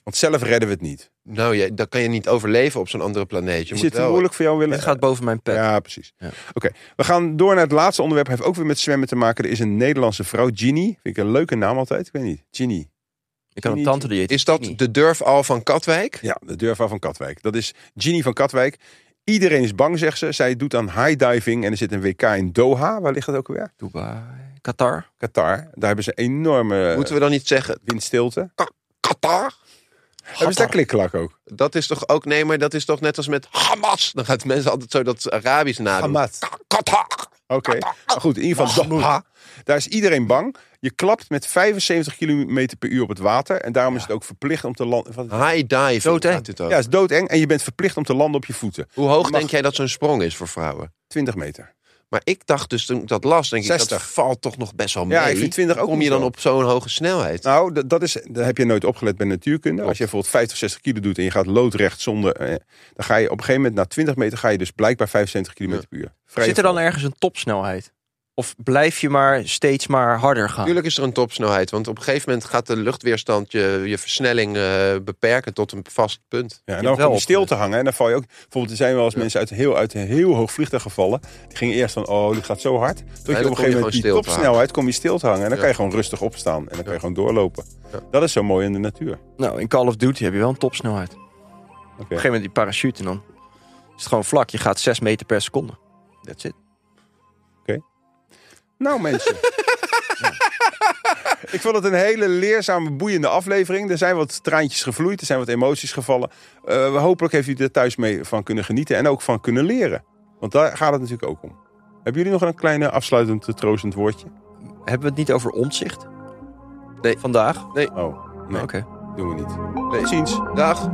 Want zelf redden we het niet. Nou, ja, dan kan je niet overleven op zo'n andere planeet. Je Is moet dit te wel- moeilijk voor jou, Willem? Het gaat boven mijn pet. Ja, precies. Ja. Oké, we gaan door naar het laatste onderwerp. Heeft ook weer met zwemmen te maken. Er is een Nederlandse vrouw, Ginny. Vind ik een leuke naam altijd. Ik weet niet. Ginny. Ik kan een tante die heet Is dat Tini. de durf al van Katwijk? Ja, de deurvrouw van Katwijk. Dat is Ginny van Katwijk. Iedereen is bang, zegt ze. Zij doet aan highdiving en er zit een WK in Doha. Waar ligt dat ook weer? Dubai, Qatar. Qatar. Daar hebben ze enorme Moeten we dan niet zeggen windstilte. Qatar? Hebben ze daar klikklak ook? Dat is toch ook, nee, maar dat is toch net als met Hamas. Dan gaat mensen altijd zo dat Arabisch nadoen. Hamas. Ka- Qatar. Oké, Maar goed, in ieder geval Doha. Daar is iedereen bang. Je klapt met 75 km per uur op het water. En daarom is het ook verplicht om te landen. wat- High dive. Dood, hè? gaat dit ook. Ja, het is doodeng. En je bent verplicht om te landen op je voeten. Hoe hoog Mag- denk jij dat zo'n sprong is voor vrouwen? 20 meter. Maar ik dacht dus toen ik dat las, denk ik, dat 60. valt toch nog best wel mee. Ja, ik vind 20 ook Kom je niet dan zo. op zo'n hoge snelheid? Nou, dat, dat is, daar heb je nooit opgelet bij natuurkunde. Als je bijvoorbeeld 50, 60 kilo doet en je gaat loodrecht zonder... eh, dan ga je op een gegeven moment, na 20 meter, ga je dus blijkbaar 75 km per uur. Vrij Zit er dan veel. ergens een topsnelheid? Of blijf je maar steeds maar harder gaan? Natuurlijk is er een topsnelheid, want op een gegeven moment gaat de luchtweerstand je, je versnelling eh, beperken tot een vast punt. Ja, en Je hebt dan wel kom je stil opgelet. te hangen en dan val je ook... Bijvoorbeeld, er zijn wel eens mensen uit een heel, uit een heel hoog vliegtuig gevallen. Die gingen eerst van, oh, dit gaat zo hard. Tot je dan op kom een je gegeven gewoon moment die stil te hangen. topsnelheid kom je stil te hangen. En dan Ja. kan je gewoon rustig opstaan. En dan kan je gewoon doorlopen. Ja. Dat is zo mooi in de natuur. Nou, in Call of Duty heb je wel een topsnelheid. Op een Oké. gegeven moment die parachute en dan is het gewoon vlak. Je gaat 6 meter per seconde. That's it. Nou, mensen. Ja. Ik vond het een hele leerzame, boeiende aflevering. Er zijn wat traantjes gevloeid, er zijn wat emoties gevallen. Eh, hopelijk heeft u er thuis mee van kunnen genieten en ook van kunnen leren. Want daar gaat het natuurlijk ook om. Hebben jullie nog een kleine afsluitend eh, troostend woordje? Hebben we het niet over ontzicht? Nee. Vandaag? Oh, nee, Oké. doen we niet. Nee. Tot ziens. Dag.